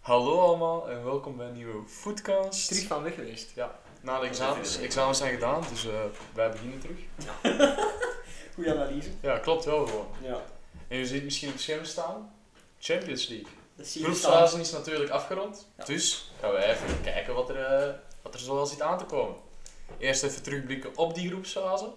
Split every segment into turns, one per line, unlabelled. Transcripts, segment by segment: Hallo allemaal en welkom bij een nieuwe Foodcast.
Terug van weg geweest.
Na de examens, examens zijn gedaan, dus eh, wij beginnen terug.
Goeie analyse.
Ja, klopt wel gewoon.
Ja.
En je ziet misschien op het scherm staan, Champions League.
Dat
De
zie je staan.
proeffase is natuurlijk afgerond,
Ja.
dus gaan wij even kijken wat er, eh, wat er zoal zit aan te komen. Eerst even terugblikken op die groepsfase.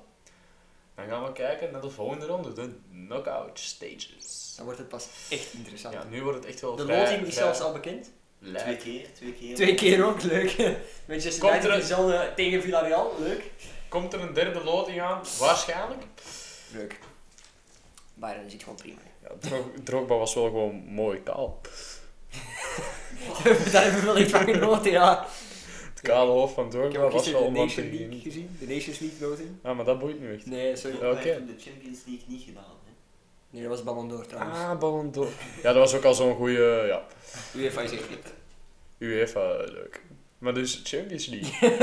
Dan gaan we kijken naar de volgende ronde, de knockout stages.
Dan wordt het pas echt interessant.
Ja, nu wordt het echt wel
De
vrij-
loting is
vrij
zelfs al bekend.
lijp.
Twee keer, twee keer.
Twee keer ook, leuk. Manchester
Komt er
United
een-
dezelfde tegen Villarreal, leuk.
Komt er een derde loting aan? Waarschijnlijk.
Leuk. Bayern zit gewoon prima.
Ja, Drog- Drogba was wel gewoon mooi kaal.
Daar hebben we wel echt van genoten, ja.
Het kale hoofd van
Ik heb
Drogba was
ook
wel
gisteren de
om
Nation
te
League
zien.
gezien. De Nations League loting.
Ja, maar dat boeit nu echt.
Nee, sorry.
Drogba
Oké.
heeft hem de Champions League niet gedaan. Hè.
Nee, dat was Ballon d'Or trouwens.
Ah, Ballon d'Or. Ja, dat was ook al zo'n goede ja,
UEFA is echt niet.
UEFA, eh, leuk. Maar dus Champions League.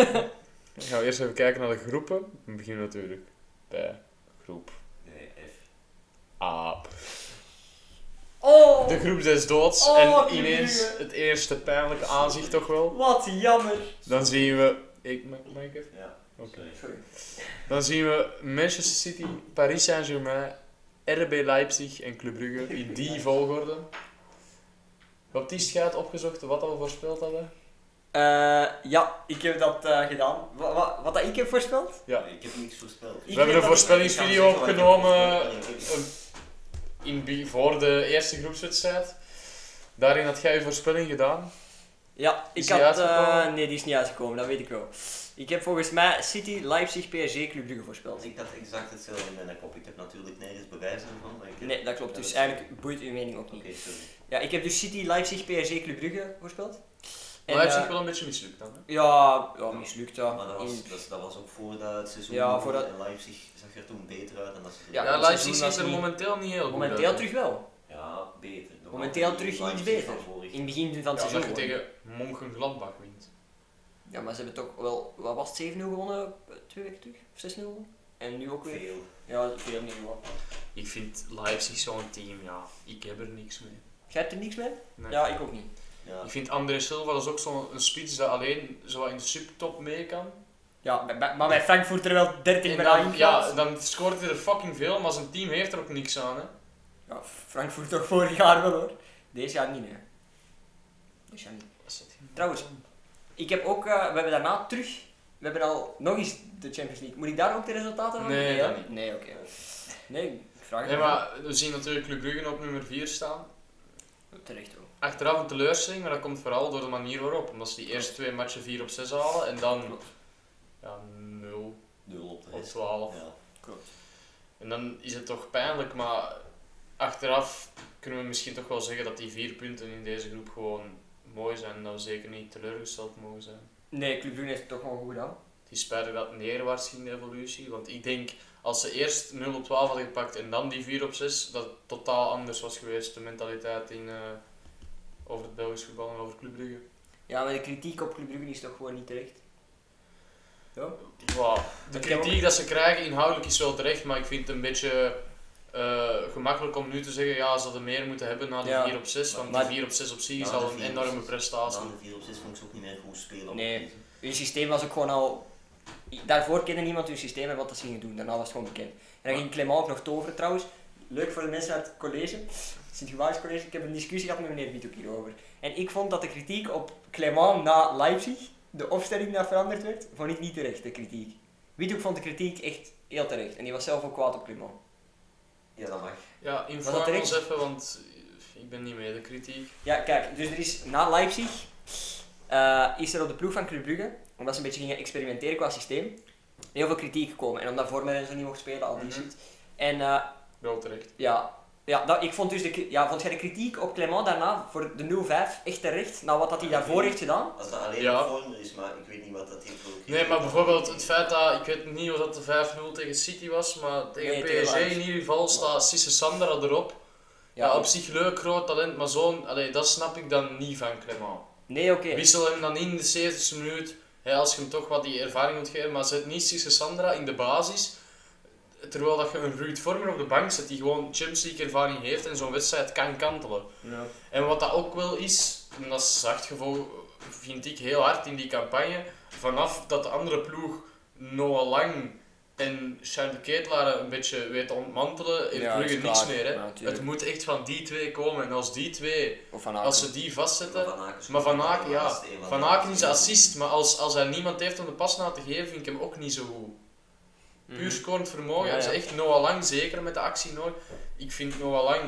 Dan gaan we eerst even kijken naar de groepen. We beginnen natuurlijk bij groep
Nee, F.
A.
Oh,
De groep des doods
Oh,
en
wat
ineens
lieve.
het eerste pijnlijke aanzicht toch wel.
wat jammer.
Dan zien we... Ik, mag mag ik even?
Ja,
Oké.
sorry.
Sorry.
Dan zien we Manchester City, Paris Saint-Germain, RB Leipzig en Club Brugge in die volgorde. Baptiste gaat opgezocht wat al voorspeld hadden.
Eh, ja, ik heb dat eh, gedaan. Wa- wa- wat dat ik heb voorspeld?
Ja.
Ik heb niks voorspeld.
Ik
We hebben
weet
een
dat-
voorspellingsvideo
Ik kan zeggen
opgenomen
wat ik heb voorspeld.
eh, in, be- voor de eerste groepswedstrijd. Daarin had jij je voorspelling gedaan.
Ja,
Is
ik
die
had... eh,
uitgekomen?
nee, die is niet uitgekomen, dat weet ik wel. Ik heb volgens mij City, Leipzig, PSG, Club Brugge voorspeld.
Ik had exact hetzelfde in mijn kop. Ik heb natuurlijk nergens bewijzen van. maar ik heb-
Nee, dat klopt.
Ja,
Dus
is-
eigenlijk boeit uw mening ook
Oké,
niet.
sorry.
Ja, ik heb dus City, Leipzig, PSG, Club Brugge voorspeld. En,
Leipzig
eh,
wel een beetje mislukt dan. Hè?
ja, ja, mislukt dat.
Maar dat
In-
was, dat, dat was ook voordat het seizoen
Ja,
begon
voordat-
en Leipzig zag er toen beter uit dan dat ze
Ja,
Ja,
het
Leipzig
seizoen
is
was
er
niet-
momenteel niet heel goed
momenteel
uit.
terug wel.
Ja, beter. Normaal
Momenteel
gezien
terug iets
Leipzig
beter.
van vorig-
In het begin van
Ja,
het
omdat je
seizoen. gewoon.
tegen Mönchengladbach wint.
Ja, maar ze hebben toch wel... Wat was het? 7-0 gewonnen? eh, Twee weken terug? Of 6-0? En nu ook weer?
Veel.
Ja, veel niet gewonnen.
Ik vind Leipzig zo'n team, ja. Ik heb er niks mee.
Jij hebt er niks mee?
Nee.
Ja, ik ook niet.
Ja.
Ik vind André Silva dat is ook zo'n een spits dat alleen zo in de subtop mee kan.
Ja, bij- bij- maar bij Frankfurt er wel 13
En
bijna
dan,
ingehaald.
ja, dan scoort hij er fucking veel, maar zijn team heeft er ook niks aan. Hè.
Ja, Frankfurt toch vorig jaar wel hoor. Deze jaar niet, hè. Deze jaar niet. Trouwens, ik heb ook, eh, we hebben daarna terug, we hebben al nog eens de Champions League. Moet ik daar ook de resultaten van?
Nee,
hè?
dat niet.
Nee, oké. Nee, ik vraag het
Nee,
maar.
maar we zien natuurlijk Club Brugge op nummer 4 staan.
Terecht ook.
Achteraf een teleurstelling, maar dat komt vooral door de manier waarop. Omdat ze die eerste twee matchen 4 op 6 halen en dan
Klopt.
ja, 0
Nul op de
op
rest.
12.
Ja.
Klopt.
En dan is het toch pijnlijk, maar achteraf kunnen we misschien toch wel zeggen dat die vier punten in deze groep gewoon mooi zijn. En dat we zeker niet teleurgesteld mogen zijn.
Nee, Club Brugge heeft het toch gewoon goed gedaan.
Het is spijtig dat het neerwaarts ging, de evolutie. Want ik denk, als ze eerst 0 op 12 hadden gepakt en dan die 4 op 6, dat het totaal anders was geweest, de mentaliteit in, eh, over het Belgisch voetbal en over Club Brugge.
Ja, maar de kritiek op Club Brugge is toch gewoon niet terecht.
Wow. De
Ik heb
kritiek
ook-
dat ze krijgen inhoudelijk is wel terecht, maar ik vind het een beetje eh, gemakkelijk om nu te zeggen, ja, ze hadden meer moeten hebben na die
Ja.
4 op 6, want
Maar-
die 4 op 6 op zich is
Na de
al een
vier op
enorme
zes.
prestatie.
Dan de 4 op 6 vond ik ze ook niet meer goed spelen. op
Nee.
deze.
Hun systeem was ook gewoon al... Daarvoor kende niemand hun systeem en wat dat ze gingen doen. Daarna was het gewoon bekend. En dan ging Clement ook nog toveren trouwens. Leuk voor de mensen uit het college. sint Gewaars College. Ik heb een discussie gehad met meneer Biet ook hierover. En ik vond dat de kritiek op Clement na Leipzig, de opstelling dat veranderd werd, vond ik niet terecht, de kritiek. Wiethoek vond de kritiek echt heel terecht. En die was zelf ook kwaad op Clement.
Ja, dat mag.
Ja,
dat
inform
terecht?
ons even, want ik ben niet mee de kritiek.
Ja, kijk, dus er is na Leipzig eh, is er op de ploeg van Club Brugge, omdat ze een beetje gingen experimenteren qua systeem, heel veel kritiek gekomen. En omdat Vormer en zo niet mocht spelen, al die
Mhm.
shit. En eh,
Wel terecht.
ja, ja dat, ik vond dus de, kri- ja, vond jij de kritiek op Clement daarna voor de 0-5 echt terecht, na wat dat hij
Mhm.
daarvoor heeft gedaan?
Als dat alleen
Ja.
een vormer is, maar ik weet niet wat dat heeft voor
Nee, maar bijvoorbeeld het feit dat, ik weet niet of dat de 5-0 tegen City was, maar tegen
Nee, tegen
PSG
Leipzig.
in ieder geval staat Sisse Sandra erop. Ja, op zich leuk, groot talent, maar zo'n, allee, dat snap ik dan niet van Clement.
Nee, oké.
Wissel hem dan in de 70ste minuut, hè, als je hem toch wat die ervaring wilt geven, maar zet niet Sisse Sandra in de basis. Terwijl dat je een Ruud Vormer op de bank zet die gewoon Champions League ervaring heeft en zo'n wedstrijd kan kantelen. En wat dat ook wel is, en dat is zacht gevolg, vind ik heel hard in die campagne. Vanaf dat de andere ploeg Noah Lang en Charles de Ketelaar een beetje weet te ontmantelen, heeft
Ja,
Brugge
is klaar.
niks meer. Hè.
Ja, natuurlijk.
het moet echt van die twee komen. En als die twee,
Of van
als
Aken.
ze die vastzetten,
Van Aken is-
maar Van Aken, ja.
is een
Van
de
Aken is
beste.
assist, maar als, als hij niemand heeft om de pas na te geven, vind ik hem ook niet zo goed. Puur scorend vermogen.
Mhm. Ja,
Hij is
ja.
echt Noah Lang, zeker met de actie nooit. Ik vind Noah Lang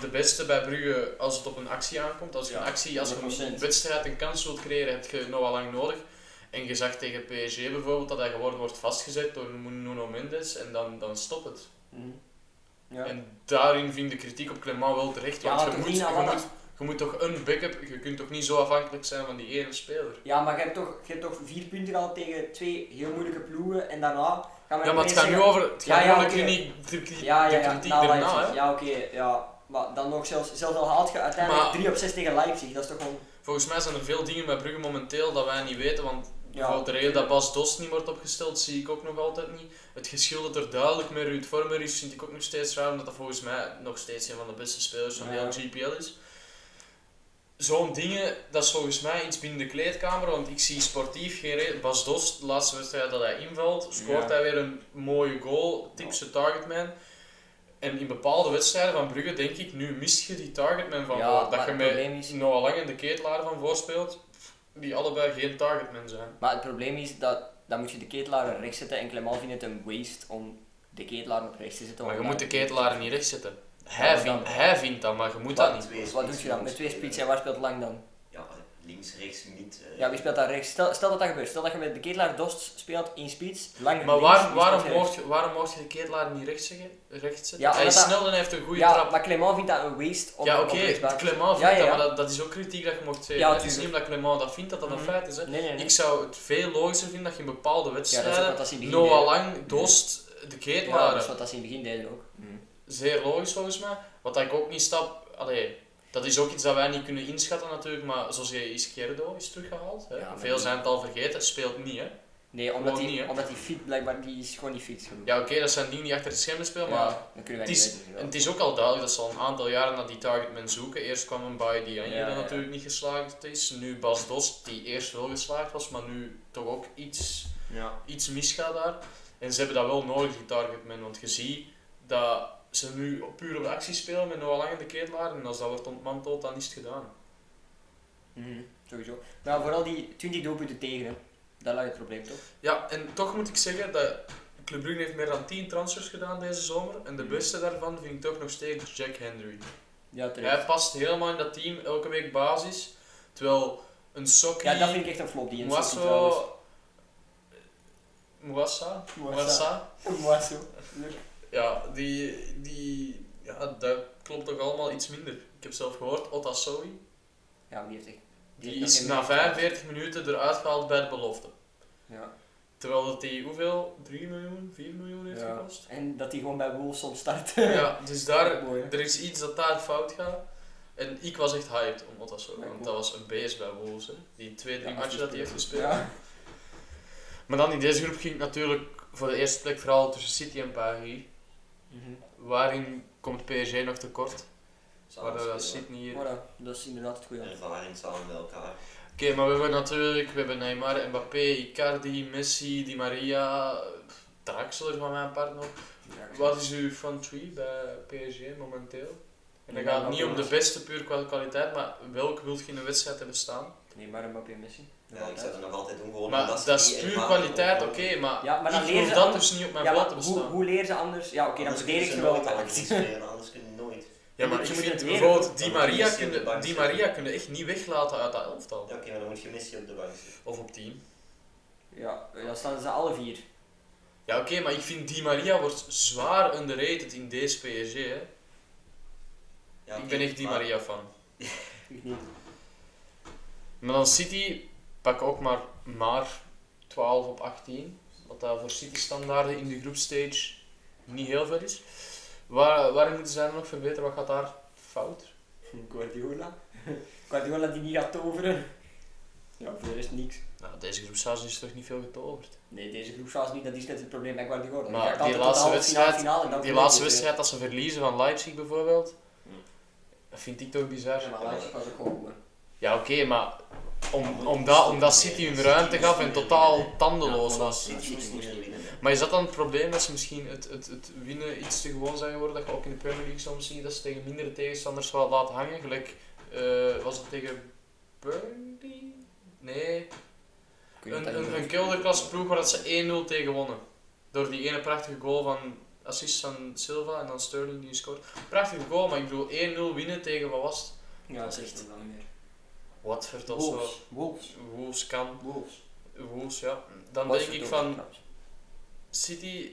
de beste bij Brugge als het op een actie aankomt. Als je
Ja,
een actie, als je een
100%.
wedstrijd een kans wilt creëren, heb je Noah Lang nodig. En je zag tegen PSG bijvoorbeeld dat hij gewoon wordt vastgezet door Nuno Mendes en dan, dan stopt het.
Mhm. Ja.
En daarin vind ik de kritiek op Clement wel terecht,
Ja,
want
maar
je,
toch
moet,
niet
je,
naar wat
moet, je moet toch een backup, je kunt toch niet zo afhankelijk zijn van die ene speler.
Ja, maar je hebt, toch, je hebt toch vier punten gehad tegen twee heel moeilijke ploegen en daarna gaan we
Ja, maar het gaat nu
zeggen-
over, het
Ja,
gaat nu
ja,
over de,
oké.
kliniek, de, kli-
ja, ja,
de
ja,
kritiek
na
daarna.
Leipzig.
hè.
Ja, oké, ja. Maar dan nog zelfs, zelfs al haalt je uiteindelijk
Maar-
3 op 6 tegen Leipzig, dat is toch gewoon...
Volgens mij zijn er veel dingen bij Brugge momenteel dat wij niet weten, want
Ja,
bijvoorbeeld de reden dat Bas Dost niet wordt opgesteld, zie ik ook nog altijd niet. Het geschil dat er duidelijk met Ruud Vormer is, vind ik ook nog steeds raar, omdat dat volgens mij nog steeds een van de beste spelers van heel
Ja.
GPL is. Zo'n dingen, dat is volgens mij iets binnen de kleedkamer, want ik zie sportief geen reden. Bas Dost, de laatste wedstrijd dat hij invalt, scoort
Ja.
hij weer een mooie goal, tipse targetman. En in bepaalde wedstrijden van Brugge denk ik, nu mist je die targetman van
Ja,
Noah.
maar
Dat je
het
met
probleem is-
Noah Lang en de ketelaar van voorspeelt, die allebei geen targetman zijn.
maar het probleem is dat dan moet je de ketelaar rechts zetten en Clement vindt het een waste om de ketelaar op rechts te zetten.
Maar je
want
moet de
dan-
ketelaar niet recht zetten.
Ja,
Hij,
maar
vindt,
dan-
hij vindt dat, maar je moet
Maar
dat niet.
Twee
Wat doe
spitsen
je dan?
moet
Met twee
spelen.
spitsen en waar speelt Lang dan?
Ja, links, rechts, niet. eh,
Ja, wie speelt daar rechts? Stel, stel dat dat gebeurt. Stel dat je met de ketelaar Dost speelt in spits, lang
Maar
links,
waar,
wie
waarom,
speelt er
mocht, je- waarom mocht je de ketelaar niet rechts, zeggen, recht zetten?
Ja,
hij is
omdat dat-
snel en hij heeft een goede
Ja,
trap.
maar Clement vindt dat een waste om
ja,
op
oké,
rechtsback-
Clement vindt
Ja, ja,
dat,
ja.
maar dat, dat is ook kritiek dat je mocht zeggen.
Ja,
het is niet
tuurlijk.
omdat Clement dat vindt dat dat een
Mhm.
feit is. Hè.
Nee, nee, nee.
Ik zou het veel logischer vinden dat je in bepaalde
ja, dat is ook
wedstrijden
wat dat ze in het begin
Noah
deden.
Lang, Dost, de
Ja,
ketelaar
dat is wat dat ze in het begin deden ook.
zeer logisch volgens mij. Wat dat ik ook niet snap, allee, dat is ook iets dat wij niet kunnen inschatten natuurlijk, maar zoals je Izquierdo is teruggehaald, hè?
Ja, maar
veel
die-
zijn het al vergeten, speelt niet hè.
Nee, omdat
Gewoon
die,
niet, hè?
omdat die fit blijkbaar, die is gewoon niet fit genoeg.
Ja oké, dat zijn dingen die achter de schermen spelen,
Ja,
maar
dan kunnen
het
wij
is-
niet weten.
en het is ook al duidelijk dat ze al een aantal jaren naar die targetmen zoeken. Eerst kwam een bij die
Ja,
dat
ja.
natuurlijk niet geslaagd is, nu Bas Dost die eerst wel geslaagd was, maar nu toch ook iets
Ja.
iets misgaat daar. En ze hebben dat wel nodig, die targetman. Want je ziet dat ze nu op- puur op de actie spelen met Noah Lang en de ketelaar. En als dat wordt ontmanteld, dan is het gedaan.
Mhm, Sowieso. Maar vooral die 20 doelpunten tegen, hè. daar lag het probleem toch?
Ja, en toch moet ik zeggen dat Club Brugge heeft meer dan 10 transfers gedaan deze zomer. En de
Hmm.
beste daarvan vind ik toch nog steeds Jack Henry.
Ja, terecht.
Hij past helemaal in dat team, elke week basis. Terwijl een sokkie...
Ja, dat vind ik echt een flop, die Insigne trouwens.
Mwasso... Mwassa?
Mwassa.
Mwassa?
Mwasso. Leuk.
Ja, die, die, ja, dat klopt toch allemaal iets minder. Ik heb zelf gehoord, Otasoi,
Ja, wie heeft echt...
die
heeft
is
nog
na
geen-
45 minuten eruit gehaald bij de belofte.
Ja.
Terwijl dat die hoeveel? 3 miljoen, 4 miljoen heeft
Ja.
gekost?
En dat hij gewoon bij Wolves soms start.
Ja, dus daar,
Mooi, hè?
er is iets dat daar fout gaat. En ik was echt hyped om Otasoi,
Ja,
want
cool.
dat was een beest bij Wolves. Hè. Die twee, drie
Ja,
matchen dat hij heeft gespeeld.
Ja.
Maar dan in deze groep ging het natuurlijk voor de eerste plek vooral tussen City en Paris.
Mhm.
Waarin komt PSG nog tekort?
samen
Waardoor dat
spelen.
City hier
Voilà, dat is inderdaad het goede.
Ervaring samen bij elkaar.
Oké, maar we hebben natuurlijk, we hebben Neymar, Mbappé, Icardi, Messi, Di Maria, Draxler van mijn part nog. Wat is uw front three bij PSG momenteel? En dan
Neymar,
gaat het niet om de
Mbappé,
beste puur qua kwaliteit, maar welk wilt je in een wedstrijd hebben staan?
Nee, maar Mbappé en Messi.
Ja, ik zou dat nog altijd doen, gewoon
Maar
omdat ze
dat is
die
puur
ervaring
kwaliteit,
ook-
oké, maar,
Ja, maar dan
ik
leren
wil
ze
dat
anders-
dus niet op mijn
Ja,
plaat
maar
hebben
hoe,
staan.
hoe leer ze anders? Ja, oké, dan
Anders kunnen
verdedig
ze
je wel
nooit
de
aan
actie.
het spelen, Anders kunnen ze nooit.
ja, maar
ze
ik
moeten
vind
het leren.
bijvoorbeeld Di
Dan moet
Maria
Messi op de
kunnen,
bank
Di
zitten.
Maria kunnen echt niet weglaten uit dat elftal.
Ja, Oké, maar dan moet je Messi op de bank zetten.
Of op 10.
Ja, dan staan ze alle vier.
Ja, oké, maar ik vind Di Maria wordt zwaar underrated in deze PSG. Hè.
Ja,
ik
oké,
ben echt Di
maar-
Maria fan.
Ik niet.
Maar dan City pak ook maar, maar 12 op 18. Wat daar voor City-standaarden in de groepstage niet heel veel is. Waar, waarin moeten zij nog verbeteren? Wat gaat daar fout?
Guardiola. Guardiola die niet gaat toveren. Ja, voor de rest niks.
Nou, deze groepsfase is toch niet veel getoverd.
Nee, deze groepsfase niet, dat is net het probleem bij Guardiola.
Maar
Je gaat
die
altijd tot
laatste
de halve
wedstrijd-
finale, en dan
Die
verlies
laatste
je het
wedstrijd dat ze verliezen van Leipzig bijvoorbeeld.
Hm.
Dat vind ik toch bizar.
weer. Ja, maar Leipzig was ook gewoon goed.
Ja, oké, maar
Ja,
om,
maar
omdat,
City
omdat
moest
City hun
winnen.
ruimte
City
gaf
moest
en
winnen,
totaal
hè.
tandeloos
Ja,
was.
voilà.
City moest niet winnen.
Maar is dat dan het probleem dat ze misschien het, het, het winnen iets te gewoon zijn geworden? Dat je ook in de Premier League soms ziet dat ze tegen mindere tegenstanders wat laat hangen. Gelijk, eh, was het tegen Burnley? Nee,
Ik weet niet
een,
of dat
een,
je-
een kelderklasse ploeg waar dat ze 1-0 tegen wonnen. Door die ene prachtige goal van assist van Silva en dan Sterling die scoort. Prachtige goal, maar ik bedoel 1-0 winnen tegen wat was het?
Ja, dat is echt wel meer.
Wat voor dat zo?
Wolves. Wolves.
Wolves kan.
Wolves.
Wolves, ja. Dan
Was
denk
het
ik
ook
van
knap.
City,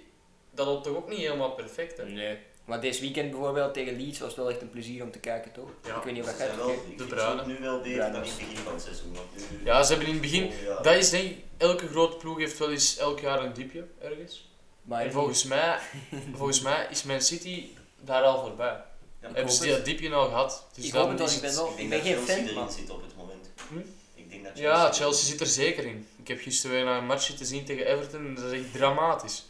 dat loopt toch ook niet helemaal perfect, hè?
Nee. Maar dit weekend bijvoorbeeld tegen Leeds was het wel echt een plezier om te kijken, toch?
Ja.
Ik weet niet
Ze
of dat
zijn
gaat.
wel,
oké.
ik
De
vind
Bruyne.
het nu wel beter
Bruyne
dan in
is-
het begin van het seizoen. want nu-
Ja, ze hebben in het begin...
Oh, ja.
Dat is denk ik... Elke grote ploeg heeft wel eens elk jaar een diepje, ergens.
Maar
en volgens mij, volgens mij is Man City daar al voorbij.
Ja,
Hebben ze
hoop het.
dat diepje nou gehad? Dus
ik
dan
hoop het wel,
is
ik ben
Ik
wel, Oh, ik
denk
ben
dat
geen
Chelsea
fan,
erin
maar
zit op het moment.
Hm?
Ik denk dat
Ja, Chelsea zit er zeker in. Ik heb gisteren weer naar een match te zien tegen Everton en dat is echt dramatisch.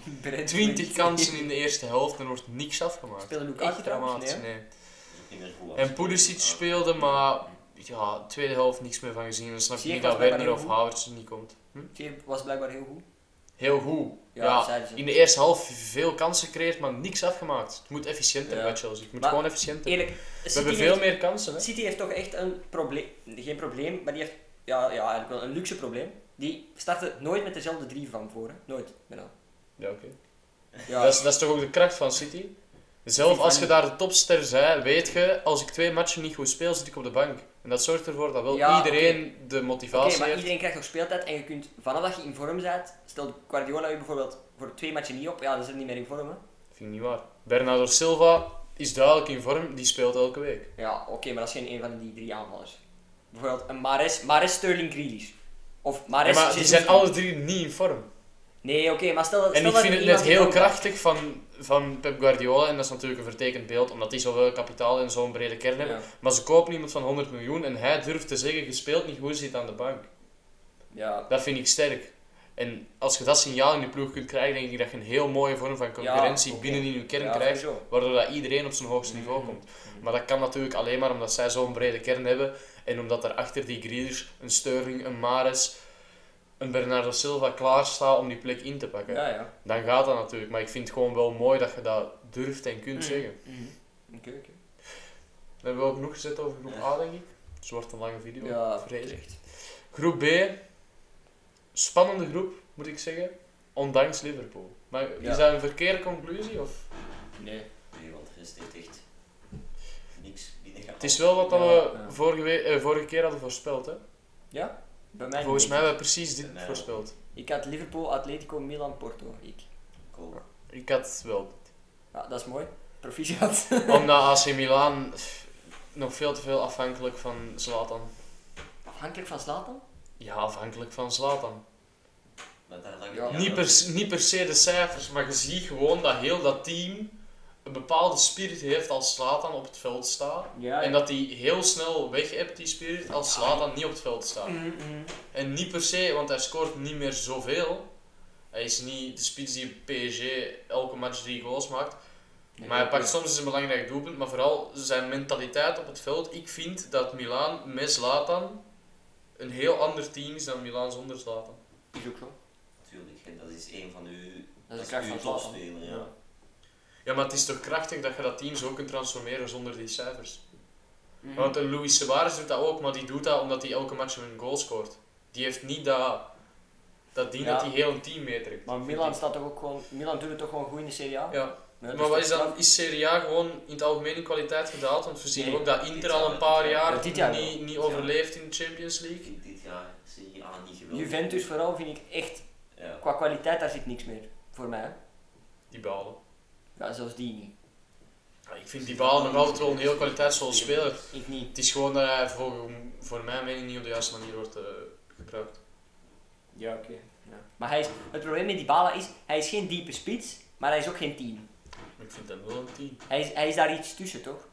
Twintig kansen in de eerste helft en er wordt niks afgemaakt.
Speelde
Echt
Lukaku trouwens,
dramatisch,
nee?
nee.
is ook niet meer goed als-
En Pulisic speelde, maar ja, tweede helft niks meer van gezien. Dan snap ik
Ziyech
niet
was
dat Werner
blijkbaar
of
heel
Havertz er niet komt. Hm?
Die was blijkbaar heel goed.
Heel goed. Ja,
dat zeiden ze.
in de eerste helft veel kansen gecreëerd, maar niks afgemaakt. Het moet efficiënter
Ja.
bij Chelsea. Het moet
Maar-
gewoon efficiënter.
Eerlijk,
We
City
hebben
heeft-
veel meer kansen, hè?
City heeft toch echt een probleem, geen probleem, maar die heeft ja, ja, eigenlijk wel een luxe probleem. Die starten nooit met dezelfde drie van voor, hè. nooit. bijna.
Ja, oké.
Ja,
Dat, is, dat is toch ook de kracht van City? Zelf
City
als je
van-
daar de topster zij, weet je, als ik twee matchen niet goed speel, zit ik op de bank. En dat zorgt ervoor dat wel
Ja,
iedereen de
Oké,
motivatie
maar
heeft.
iedereen krijgt nog speeltijd en je kunt vanaf dat je in vorm bent, stel Guardiola je bijvoorbeeld voor twee matchen niet op, ja, dan is hij niet meer in vorm. Hè.
Vind ik niet waar. Bernardo Silva is duidelijk in vorm, die speelt elke week.
Ja, oké, maar dat is geen een van die drie aanvallers. Bijvoorbeeld een Mares, Mares Sterling, Grealish. Of
Ja,
Mares...
maar die
Jesus.
zijn alle drie niet in vorm.
Nee, oké, maar stel dat...
En
stel
ik
dat
vind
er
het net
iemand in
heel
vorm is.
krachtig van, van Pep Guardiola. En dat is natuurlijk een vertekend beeld, omdat die zoveel kapitaal en zo'n brede kern hebben.
Ja.
Maar ze kopen iemand van 100 miljoen en hij durft te zeggen, je speelt niet goed, zit aan de bank.
Ja,
Dat vind ik sterk. En als je dat signaal in de ploeg kunt krijgen, denk ik dat je een heel mooie vorm van concurrentie
Ja, oké.
binnen in je kern
ja,
krijgt.
sowieso.
Waardoor dat iedereen op zijn hoogste niveau
Mhm.
komt. Maar dat kan natuurlijk alleen maar omdat zij zo'n brede kern hebben. En omdat er achter die Grealish een Sterling, een Mares, een Bernardo Silva klaarstaan om die plek in te pakken
Ja, ja.
dan gaat dat natuurlijk. Maar ik vind het gewoon wel mooi dat je dat durft en kunt
Mm.
zeggen.
Mhm. Oké, oké.
Dan hebben we ook genoeg gezet over groep
Ja.
A, denk ik. Het wordt een lange video,
Ja,
vrees ik.
terecht.
Groep B, spannende groep, moet ik zeggen. Ondanks Liverpool. Maar
Ja.
is dat een verkeerde conclusie? Of?
Nee.
Nee, want er is dit echt niks. Die dingen
Het is wel wat dat
Ja,
we
ja.
Vorige, we- eh, vorige keer hadden voorspeld. Hè?
Bij mij
Volgens
niet.
mij hebben we precies dit
Bij mij
voorspeld.
Ik had Liverpool, Atletico, Milan, Porto. Ik.
Cool.
Ik had wel.
Ja, dat is mooi. Proficiat.
Omdat AC Milan pff, nog veel te veel afhankelijk van Zlatan.
Afhankelijk van Zlatan?
Ja, afhankelijk van Zlatan.
Maar daar lag
Ja.
Niet per, se- niet per se de cijfers, maar je ziet gewoon dat heel dat team een bepaalde spirit heeft als Slatan op het veld staat.
Ja.
En dat die heel snel weg hebt, die spirit, als Slatan niet op het veld staat.
Mhm,
En niet per se, want hij scoort niet meer zoveel. Hij is niet de spits die op PSG elke match drie goals maakt. Maar hij pakt soms eens een belangrijk doelpunt, maar vooral zijn mentaliteit op het veld. Ik vind dat Milaan met Zlatan een heel ander team is dan Milaan zonder Zlatan.
Is ook zo.
Natuurlijk, hè, dat is een van uw.
Dat is de kracht
uw
van Zlatan.
topspeler,
Ja.
ja.
Ja, maar het is toch krachtig dat je dat team zo kunt transformeren zonder die cijfers.
Mhm.
Want een Luis Suarez doet dat ook, maar die doet dat omdat hij elke match een goal scoort. Die heeft niet dat, dat ding
Ja.
dat hij heel een team meetrekt.
Maar
vind
Milan
ik.
staat toch ook gewoon... Milan doet het toch gewoon goed in de Serie A?
Ja,
Nee, dus
maar wat
dat
is dan? Is Serie A gewoon in het algemeen in kwaliteit gedaald? Want we zien
Nee,
ook dat
dit
Inter al
jaar
een paar
wel.
jaar
Ja, dit jaar wel.
niet, niet
jaar.
overleeft in de Champions
Ik
League.
vind dit jaar Serie A niet geweldig.
Juventus vooral vind ik echt...
Ja.
Qua kwaliteit, daar zit niks meer. Voor mij. hè.
Die balen.
Ja, zelfs die niet.
Ja, ik vind die balen nog altijd wel een heel kwaliteitsvolle speler.
Ik niet.
Het is gewoon dat hij voor, voor mijn mening niet op de juiste manier wordt eh, gebruikt.
Ja, oké. Maar hij is, het probleem met Dybala is, hij is geen diepe spits, maar hij is ook geen 10.
Ik vind dat wel een 10.
Hij is, hij is daar iets tussen, toch?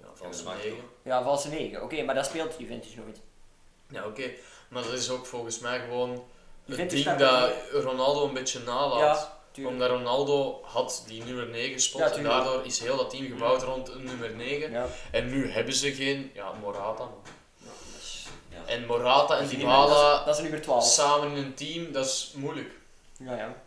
Ja,
Ja,
van
dat
zijn
maakt
eigen.
toch.
Ja, valse 9. Oké, maar dat speelt Juventus nooit.
Ja, oké. Maar dat is ook volgens mij gewoon het
Juventus
ding
staat
dat Ronaldo een beetje nalaat.
Tuurlijk.
omdat Ronaldo had die nummer 9 spot
Ja,
en
tuurlijk.
daardoor is heel dat team gebouwd rond een nummer 9.
Ja.
En nu hebben ze geen... Ja, Morata. man.
Ja, dat is-
En Morata en
Dus die nemen- dat is-
Dybala
Dat is nummer 12.
samen in een team, dat is moeilijk.
Ja, ja.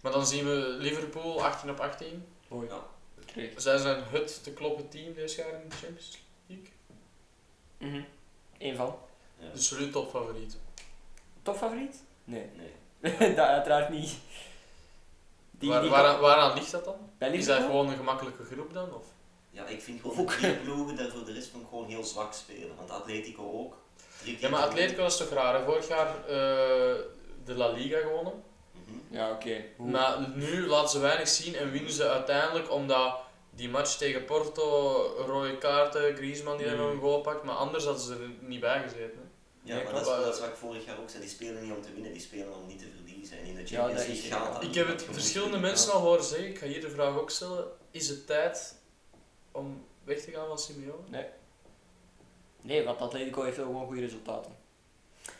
Maar dan zien we Liverpool 18 op 18.
Mooi.
Ja.
Terug.
Zij zijn het te kloppen team dit jaar in de Champions League.
Mhm. Eén van.
Ja.
Dus voor u topfavoriet.
Topfavoriet? Nee.
Nee.
dat uiteraard niet. Die,
Waar,
die
waar, waaraan ligt dat dan?
bij
Is dat
Liverpool?
gewoon een gemakkelijke groep dan? Of?
Ja, ik vind gewoon
Ook.
dat die ploegen daar voor de rest van gewoon heel zwak spelen. Want Atletico ook. Drie keer
Ja, maar
gewonnen.
Atletico is toch raar. hè? Vorig jaar eh, de La Liga gewonnen.
Mhm.
Ja, oké. Hoe-
Maar nu laten ze weinig zien en winnen ze uiteindelijk omdat die match tegen Porto, rode kaarten, Griezmann die daar
Mm.
nog een goal pakt. Maar anders hadden ze er niet bij gezeten. hè.
Ja,
Ja,
maar
klopt.
dat is wel dat is wat ik vorig jaar ook zei. Die spelen niet om te winnen, die spelen om niet te verliezen. En in de Champions
dat is-
League gaat dat
Ik
niet,
heb het
want je moet
verschillende
winnen.
mensen al horen zeggen, ik ga hier de vraag ook stellen. Is het tijd om weg te gaan van Simeone?
Nee, want Atletico heeft wel gewoon goede resultaten.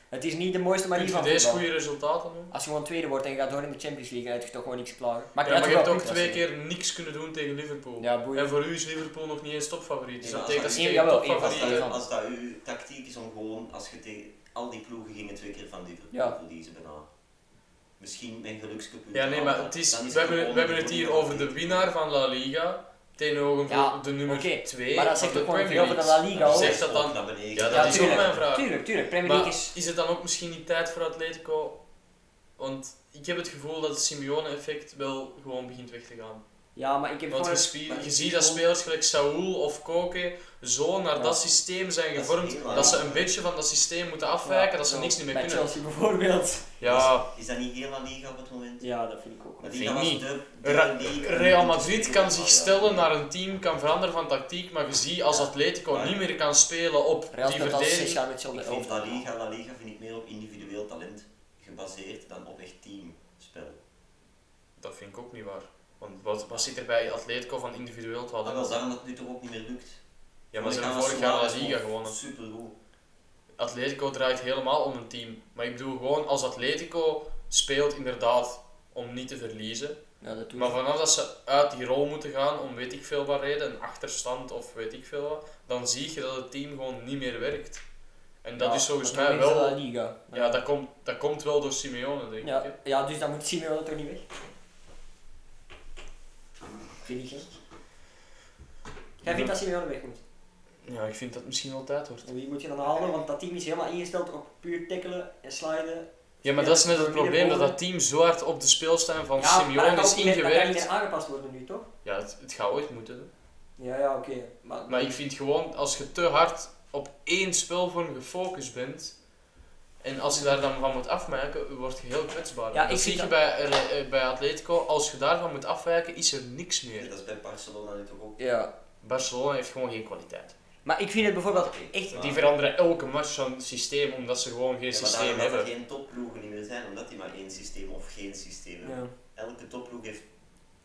Het is niet de mooiste
Maar
manier
je
van
deze
voetbal.
goede resultaten doen?
Als je gewoon tweede wordt en je gaat door in de Champions League, dan Ah, heb je toch gewoon niks te klagen.
Ja,
Maar,
maar je hebt ook
ook
twee keer niks kunnen doen tegen Liverpool.
Ja, boeien.
En voor u is Liverpool nog niet eens topfavoriet. Dus
Ja,
dat betekent dat
als
ze tegen
dat- jawel, één
Als
topfavoriet...
favoriet.
dat, als dat uw tactiek is om gewoon, als je tegen al die ploegen gingen twee keer van Liverpool
Ja.
verliezen bijna. Misschien mijn gelukscomputer.
Ja, nee, maar het is, we, hebben, we hebben het hier over de winnaar van La Liga tegenover
Ja,
de nummer
oké,
2
maar dat
van
zegt
de
ook gewoon
Premier
veel over de
League.
La Liga hoor.
Zegt dat dan-
Dat betekent-
Ja, dat
Ja,
is ook mijn vraag.
Tuurlijk, tuurlijk. Premier
Maar
League is...
is... het dan ook misschien niet tijd voor Atletico? Want ik heb het gevoel dat het Simeone-effect wel gewoon begint weg te gaan.
Ja, maar ik heb
Want
gewoon...
je, spie-
maar
je
ik
ziet
zie
dat
gewoon-
spelers gelijk Saúl of Koke zo naar
Ja.
dat systeem zijn
Dat is
gevormd
heel
dat,
waar.
ze een beetje van dat systeem moeten
Ja,
afwijken, dat ze
zo.
niks niet meer
Bij
kunnen.
Chelsea bijvoorbeeld.
Ja,
Is dat niet heel La Liga op het moment?
Ja, dat vind ik ook.
La
wel.
vind ik
Liga was
niet.
de, de
Ra-
league om
Real
te
Madrid
spelen,
kan
maar
zich
ja.
stellen naar een team, kan veranderen van tactiek, maar je ziet als
Ja.
Atletico
Maar-
niet meer kan spelen op
Real
die
speelt al zes
verdediging.
jaar met
Ik
Chelsea.
vind La Liga, La Liga vind ik meer op individueel talent gebaseerd dan op echt teamspel.
Dat vind ik ook niet waar. Want wat, wat zit er bij Atletico van individueel te
Maar Ah, wel
hadden?
daarom dat het nu toch ook niet meer lukt.
Ja, maar ze hebben vorig jaar La Liga gewonnen.
Supergoed.
Atletico draait helemaal om een team. Maar ik bedoel gewoon, als Atletico speelt inderdaad om niet te verliezen.
Ja, dat doe
Maar
ik.
vanaf dat ze uit die rol moeten gaan om weet ik veel wat reden, een achterstand of weet ik veel wat, dan zie je dat het team gewoon niet meer werkt. En dat
Ja,
is volgens
maar
mij
toen wint
wel...
de La Liga.
Ja, dat komt, dat komt wel door Simeone, denk ik. hè.
Ja, ja, dus dan moet Simeone toch niet weg? Vind ik gek. Jij vindt dat Simeone weg moet?
Ja, ik vind dat misschien wel tijd wordt.
En wie moet je dan halen? Want dat team is helemaal ingesteld op puur tackelen en sliden.
Ja, maar dat is net het
Door midden
probleem, dat
boven.
dat team zo hard op de speelstijl van
maar dat
Simeone
kan
is
ook niet meer- Dat kan niet
ingewerkt.
meer aangepast worden nu, toch?
Ja, het, het gaat ooit moeten. hè.
Ja, ja, oké. Maar,
Maar ik vind gewoon, als je te hard op één spelvorm gefocust bent, en als je daar dan van moet afwijken, word je heel kwetsbaar.
Ja,
dat
ik
zie
vind
je bij, eh, eh, bij Atletico, als je daarvan moet afwijken, is er niks
Ja,
meer.
dat is bij Barcelona nu toch ook.
ja.
Barcelona heeft gewoon geen kwaliteit.
maar ik vind het bijvoorbeeld echt...
Ja.
Die veranderen elke match van systeem, omdat ze gewoon geen
Ja, maar
systeem
daarom dat er
hebben.
geen topploegen niet meer zijn, omdat die maar één systeem of geen systeem hebben.
Ja.
Elke topploeg heeft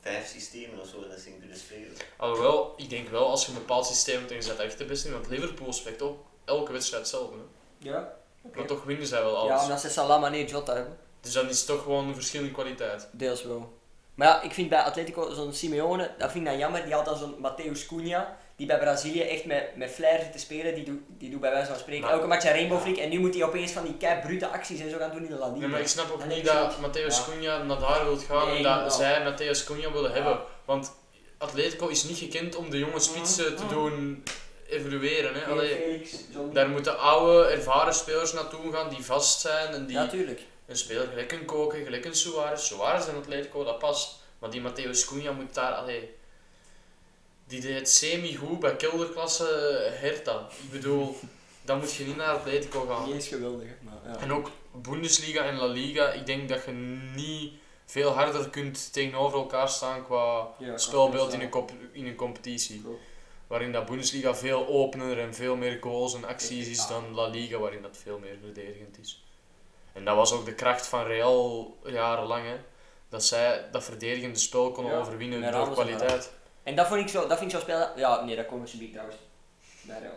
vijf systemen of zo en dat is in kunnen spelen.
Alhoewel, ik denk wel, als je een bepaald systeem hebt ingezet, dat echt de beste. Want Liverpool speelt ook elke wedstrijd hetzelfde. hè.
Ja? Oké.
Maar toch winnen zij wel alles.
Ja, omdat ze Salah, Mané, Jota hebben.
Dus dan is het toch gewoon een verschil in kwaliteit.
Deels wel. Maar ja, ik vind bij Atletico zo'n Simeone, dat vind ik dan jammer. Die had dan zo'n Matthäus Cunha, die bij Brazilië echt met, met flair zit te spelen. Die, doet- die doet bij wijze van spreken
Maar-
elke match een rainbow flick. En nu moet hij opeens van die kei brute acties en zo gaan doen in de La Liga.
Nee, maar ik snap ook
Dan
niet
heb je
dat
zoiets-
Matthäus
Ja.
Cunha naar daar wil gaan
Nee,
en dat
inderdaad.
zij Matthäus Cunha willen
Ja.
hebben. Want Atletico is niet gekend om de jonge spitsen te
Mhm.
doen evolueren. Hè.
Nee,
Allee,
Felix, zo'n-
daar moeten oude, ervaren spelers naartoe gaan die vast zijn en die
Ja, tuurlijk.
een speler gelijk een koken, gelijk een Suarez. Suarez en Atletico, dat past. Maar die Matthäus Cunha moet daar... Allee, die deed het semi-goed bij kelderklasse Hertha. Ik bedoel, dan moet je niet naar Atletico gaan.
Die is geweldig. hè, Maar, ja.
En ook Bundesliga en La Liga, ik denk dat je niet veel harder kunt tegenover elkaar staan qua
Ja,
spelbeeld
ja.
in een, comp- in een competitie.
Klopt.
Waarin dat Bundesliga veel opener en veel meer goals en acties is dan La Liga, waarin dat veel meer verdedigend is. En dat was ook de kracht van Real jarenlang, hè. Dat zij dat verdedigende spel konden
Ja,
overwinnen
met
door
Ramos en
kwaliteit.
En dat vond ik zo, dat vind ik zo spelen. Ja, nee, dat komt alsjeblieft trouwens. Daar ja.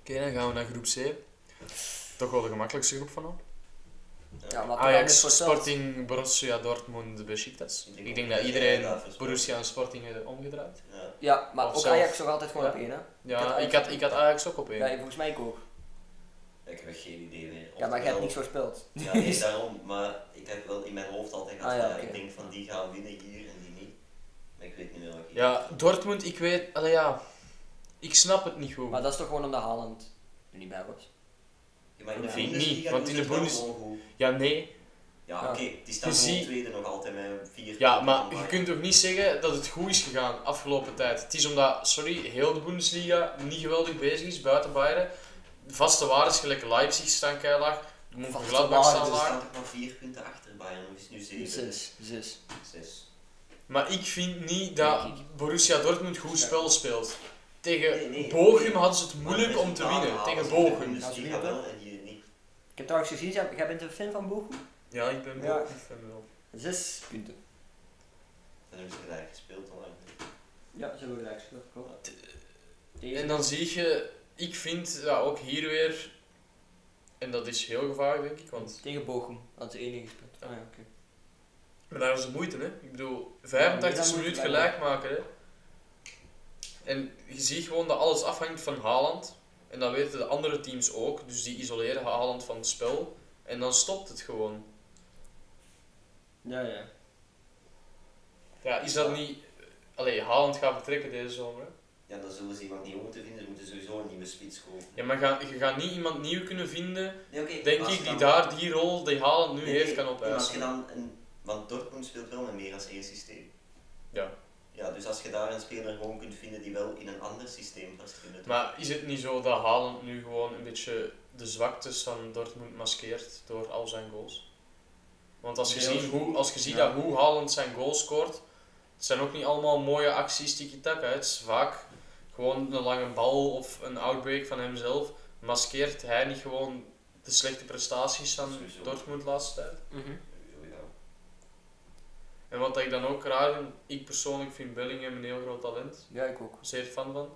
Oké, dan gaan we naar groep C. Toch wel de gemakkelijkste groep van al.
Ja, wat er anders
Ajax,
voorspelt.
Sporting, Borussia, Dortmund, Besiktas.
Ik denk
Ik
ook
denk
dat
dat iedereen
inderdaad voorspelt.
Borussia en Sporting heeft omgedraaid.
Ja.
Ja, maar
Of
ook
zelf.
Ajax nog altijd gewoon
Ja.
op één, hè? had
Ja,
Ajax
ik had,
ook.
ik had Ajax ook op één.
Ja, ik- volgens mij ik ook.
Ik heb echt geen idee meer.
Ja, maar je hebt
Oftewel-
niks voorspeld.
Ja, nee, daarom. Maar ik heb wel in mijn hoofd altijd gehad,
Ah, ja,
ja,
oké.
ik denk van die gaan winnen hier en die niet. Maar ik weet niet meer wat ik
Ja, Dortmund, ik weet, allee, ja, ik snap het niet goed.
Maar dat is toch gewoon omdat Haaland er niet bij was?
Ja, maar in de
Vind ik
Bundesliga
niet, want
doen
in de
ze het wel
Bundes-
gewoon goed.
Ja, nee.
Ja,
Ja.
oké, die staan
Je
gewoon
ziet-
tweede nog altijd met vier.
Ja,
punten
maar
van
je
Bayern. Dus
kunt toch niet zeggen dat het goed is gegaan afgelopen tijd. Het is omdat, sorry, heel de Bundesliga niet geweldig bezig is buiten Bayern. Vaste waardes gelijk Leipzig staan keilaag,
Vaste
Gladbach staan
waardes,
Ze
laag.
staan toch maar vier punten achter Bayern, of is het nu zeven?
Zes. Zes.
Zes.
Maar ik vind niet dat
Nee, ik-
Borussia Dortmund goed
Ja.
spel speelt.
Nee,
Tegen
nee.
Eh, Bochum hadden ze het moeilijk
Maar
om te
resultaten
winnen.
halen
Tegen
ze in de
Bochum.
Bundesliga wel en hier niet.
Ik heb trouwens gezien, jij jij bent een fan van Bochum?
Ja, ik ben
Ja.
Bochum fan wel.
Zes punten.
Dan hebben ze gelijk gespeeld al eigenlijk.
Ja, ze hebben gelijk gespeeld, klopt. Tegen-
En dan zie je, ik vind ja, ook hier weer, en dat is heel gevaarlijk denk ik, want
Tegen Bochum had ze 1 gespeeld. Ah ja, oké.
maar daar is de moeite hè. Ik bedoel,
Ja,
85
dat moet
minuut
blijven.
gelijk maken hè. En je ziet gewoon dat alles afhangt van Haaland. En dat weten de andere teams ook, dus die isoleren Haaland van het spel. En dan stopt het gewoon.
Ja, ja.
Ja, is dat niet... Allee, Haaland gaat vertrekken deze zomer hè.
Ja, dan zullen ze iemand niet om te vinden, ze moeten sowieso een nieuwe spits kopen.
Ja, maar ga, je gaat niet iemand nieuw kunnen vinden,
Nee, oké,
denk
als
ik,
je
die
dan-
daar die rol die Haaland nu
Nee,
heeft
nee,
kan
maar Als je
opeisen.
dan een, want Dortmund speelt wel met meer als één systeem.
Ja.
Ja, dus als je daar een speler gewoon kunt vinden die wel in een ander systeem past. in het-
Maar is het niet zo dat Haaland nu gewoon een beetje de zwaktes van Dortmund maskeert door al zijn goals? Want als je
Deels.
ziet, hoe, als je ziet
Ja.
dat hoe Haaland zijn goals scoort, het zijn ook niet allemaal mooie acties tiki-taka. hè. Het is vaak gewoon een lange bal of een outbreak van hemzelf. Maskeert hij niet gewoon de slechte prestaties van
Sowieso.
Dortmund de laatste tijd?
Mhm.
Ja,
En wat ik dan ook raar vind, ik persoonlijk vind Bellingham een heel groot talent.
Ja, ik ook.
Zeer fan van.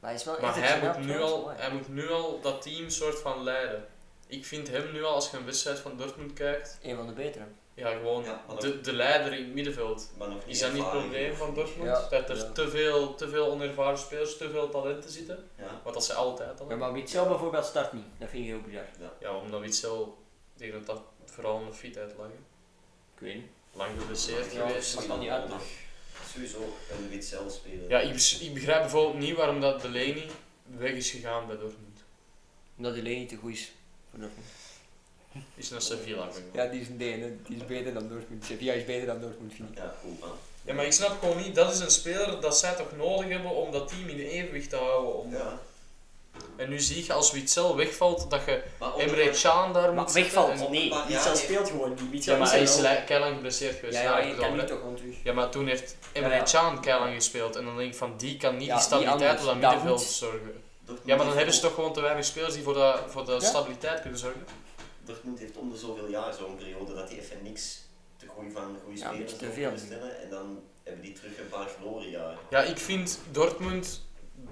Maar hij is wel
Maar
echt
hij
een
moet,
snel
nu
trouwens,
al,
mooi.
hij moet nu al dat team soort van leiden. Ik vind hem nu al, als je een wedstrijd van Dortmund kijkt,
Een van de betere.
ja, gewoon
Ja, maar
de, de leider in het middenveld.
Maar nog niet
Is dat niet het
ervaren
probleem
genoeg.
van Dortmund?
Ja,
Dat er
ja.
te, veel, te veel onervaren spelers, te veel talenten zitten?
Ja,
Want dat zijn altijd al.
Ja, maar Witzel bijvoorbeeld start niet. Dat vind ik heel bizar.
Ja, omdat Witsel, ik denk dat dat vooral een fiet uitlag. hè.
Ik weet niet.
Lang geblesseerd
Ja,
geweest.
maar- kan niet uit, man.
Sowieso een wit zelf spelen.
Ja, ik, bes- ik begrijp bijvoorbeeld niet waarom dat Delaney weg is gegaan bij Dortmund.
Omdat hij alleen niet te goed is. voor Dortmund.
Is naar Sevilla gegaan.
Ja, die is een DN, die is beter dan Dortmund. Sevilla is beter dan Dortmund, vind ik.
Ja, goed man.
Ja, maar ik snap gewoon niet, dat is een speler dat zij toch nodig hebben om dat team in evenwicht te houden. Om...
Ja.
En nu zie je als Witzel wegvalt, dat je
Maar op-
Emre Can daar
Maar
moet zetten en-
wegvalt, nee.
Maar ja,
Witzel
nee.
speelt gewoon niet. Witzel
Ja, maar hij is
wel-
le- keilang geblesseerd geweest.
Ja,
daar
ja,
heb
je
ik het
kan niet
over, hè.
toch gewoon terug.
ja, maar toen heeft Emre
Ja, ja.
Can keilang gespeeld. En dan denk ik van, die kan niet
Ja,
die
die
stabiliteit
anders.
op dat
Dat
middenveld
moet.
zorgen.
Dortmund
Ja, maar dan
heeft
hebben ze
ook-
toch gewoon te weinig spelers die voor de, voor de
Ja.
stabiliteit kunnen zorgen.
Dortmund heeft om de zoveel jaar zo'n periode dat die even niks te groeien van goede
Ja, een
spelers
beetje te
nog
veel
kunnen
nu.
stellen. En dan hebben die terug een paar gloriejaren.
Ja, ik vind Dortmund,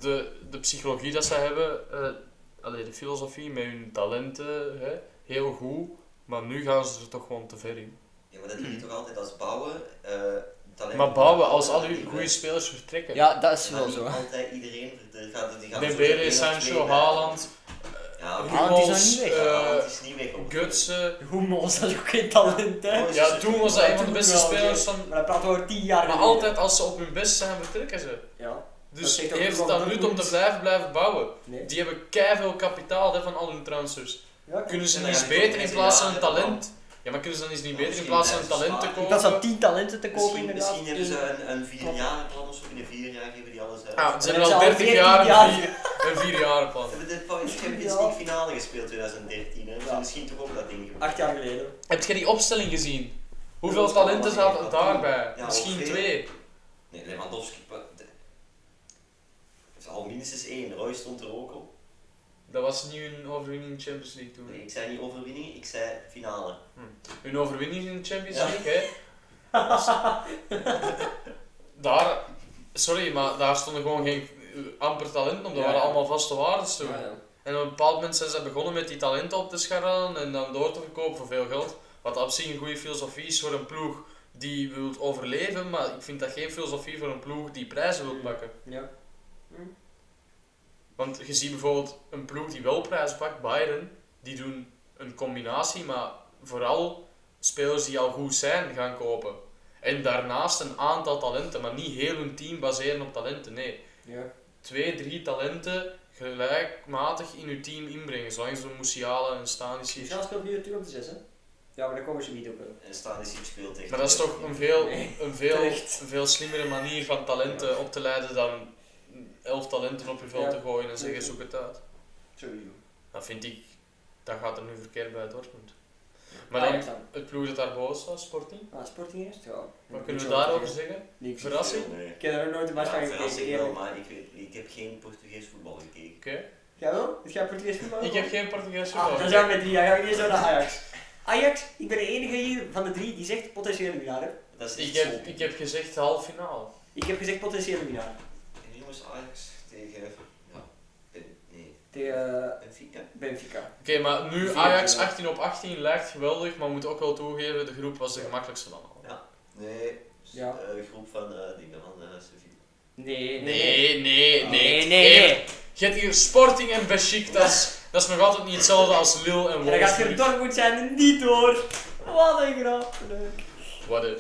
de, de psychologie dat ze hebben, eh allee, de filosofie met hun talenten, hè, heel goed. Maar nu gaan ze er toch gewoon te ver in.
Ja, maar dat doe je toch altijd als bouwen. eh talent-
Maar bouwen, als al uw goede spelers vertrekken.
Ja, dat is
Ja, maar
wel
niet
zo.
Altijd iedereen, er gaat, die gaan zo één
Dembele,
of twee
Sancho,
bij.
Haaland,
Ja, maar-
Haaland is nog niet
Hummels,
weg.
eh,
Ja, Haaland is niet weg op
Gutsen.
Hummels, dat is ook geen talent, hè.
Ja,
Ja, toen was dat een van de
Toen
beste
wel,
spelers
oké.
van...
Maar dat praten we over tien jaar
Maar
geleden.
altijd als ze op hun best zijn, vertrekken ze.
Ja. Dat
Dus
zegt ook
heeft
wel
het dan
Dortmund.
nut om te blijven, blijven bouwen.
Nee.
Die hebben keiveel kapitaal hè, van al hun transfers.
Ja, oké.
Kunnen ze
En
niet
dan
eens
heb je ook
beter in
mensen
plaats
die
van een
daar
talent... Ja, maar kunnen ze dan eens niet
Ja,
beter in
misschien
plaats van een
blijven
talent te
sparen.
Ik
kopen?
was aan tien talenten te kopen,
Misschien,
inderdaad.
misschien hebben ze
Dus-
een, een vier jaar plan of zo. Binnen vier jaar geven die alles uit.
Ja, Ah, ze
Dan
hebben al
hebben ze
30
al 14
jaar
jaar.
een vier- een vierjarenplan.
Ze hebben de Champions
Ja.
League finale gespeeld 2013. Hè. Ze
Ja.
hebben Misschien toch ook dat ding
Ah.
gewonnen.
Acht jaar geleden.
Heb jij die opstelling gezien? Hoeveel
Dat was
talenten
allemaal
zaten
één.
daarbij?
Ja,
Misschien
ongeveer.
twee.
Nee, Lewandowski. pa- de- Het is al minstens één. Roy stond er ook op.
Dat was niet hun overwinning in de Champions League
Mm.
toen.
Nee, ik zei niet overwinning, ik zei finale.
Hun overwinning in de Champions
Ja.
League, hè? daar, sorry, maar daar stonden gewoon geen eh, amper talenten op. Dat
Ja,
waren
ja.
allemaal vaste waardes toen.
Ja, ja.
En op een bepaald moment zijn ze begonnen met die talenten op te scharrelen en dan door te verkopen voor veel geld. Wat op zich een goede filosofie is voor een ploeg die wil overleven, maar ik vind dat geen filosofie voor een ploeg die prijzen wil
Mm.
pakken.
Ja.
Want je ziet bijvoorbeeld een ploeg die wel prijzen pakt, Bayern, die doen een combinatie, maar vooral spelers die al goed zijn gaan kopen. En daarnaast een aantal talenten, maar niet heel hun team baseren op talenten. Nee,
Ja.
twee, drie talenten gelijkmatig in je team inbrengen, zolang ze een Musiala en Stanisic.
Michel speelt nu natuurlijk op de 6, hè? Ja, maar daar komen ze niet op. hè.
En Stanisic speelt echt...
Maar dat is toch een veel,
Nee,
een veel,
terecht.
een veel slimmere manier van talenten op te leiden dan elf talenten op je veld
Ja,
te gooien en zeggen
zeker.
zoek het uit.
Sowieso.
Dat vind ik, dat gaat er nu verkeerd bij Dortmund. Maar
Maar
dan,
Ajax dan.
het ploeg dat daar boven staat, Sporting,
Ah, Sporting eerst? Ja.
wat
Niet
kunnen we
zo
daarover
te
zeggen?
zeggen. Niks.
Verras- Verrassing?
Nee.
Ik heb er ook nooit een match
Ja,
van
verrassing
gekeken,
wel,
eerlijk.
maar ik, weet- ik heb geen Portugees voetbal gekeken.
Oké.
Jij wel? Heb jij Portugees voetbal?
Ik heb geen Portugees
Ah, dan
voetbal.
zijn we met drie. Dan gaan we eerst naar Ajax. Ajax, ik ben de enige hier van de drie die zegt potentiële winnaar. hè.
Dat is echt
ik, heb,
zonde.
ik heb gezegd half finale.
Ik heb gezegd potentiële winnaar.
En jongens, Ajax tegen... Ja. Ben- Nee.
Tegen eh,
Benfica.
Benfica.
Oké, maar nu
Vier,
Ajax
ja.
18 op 18 lijkt geweldig, maar moet ook wel toegeven, de groep was de gemakkelijkste dan al.
Nee.
Ja.
Eh, groep van eh dingen van eh Sevilla.
Nee, Oh,
Nee, nee, nee.
Nee, nee,
Even- Je hebt hier Sporting en Besiktas. Dat is nog altijd niet hetzelfde als Lille en
En dan gaat je
Wolfsburg.
Dortmund zijn en niet door. Wat een grap. Leuk.
What a-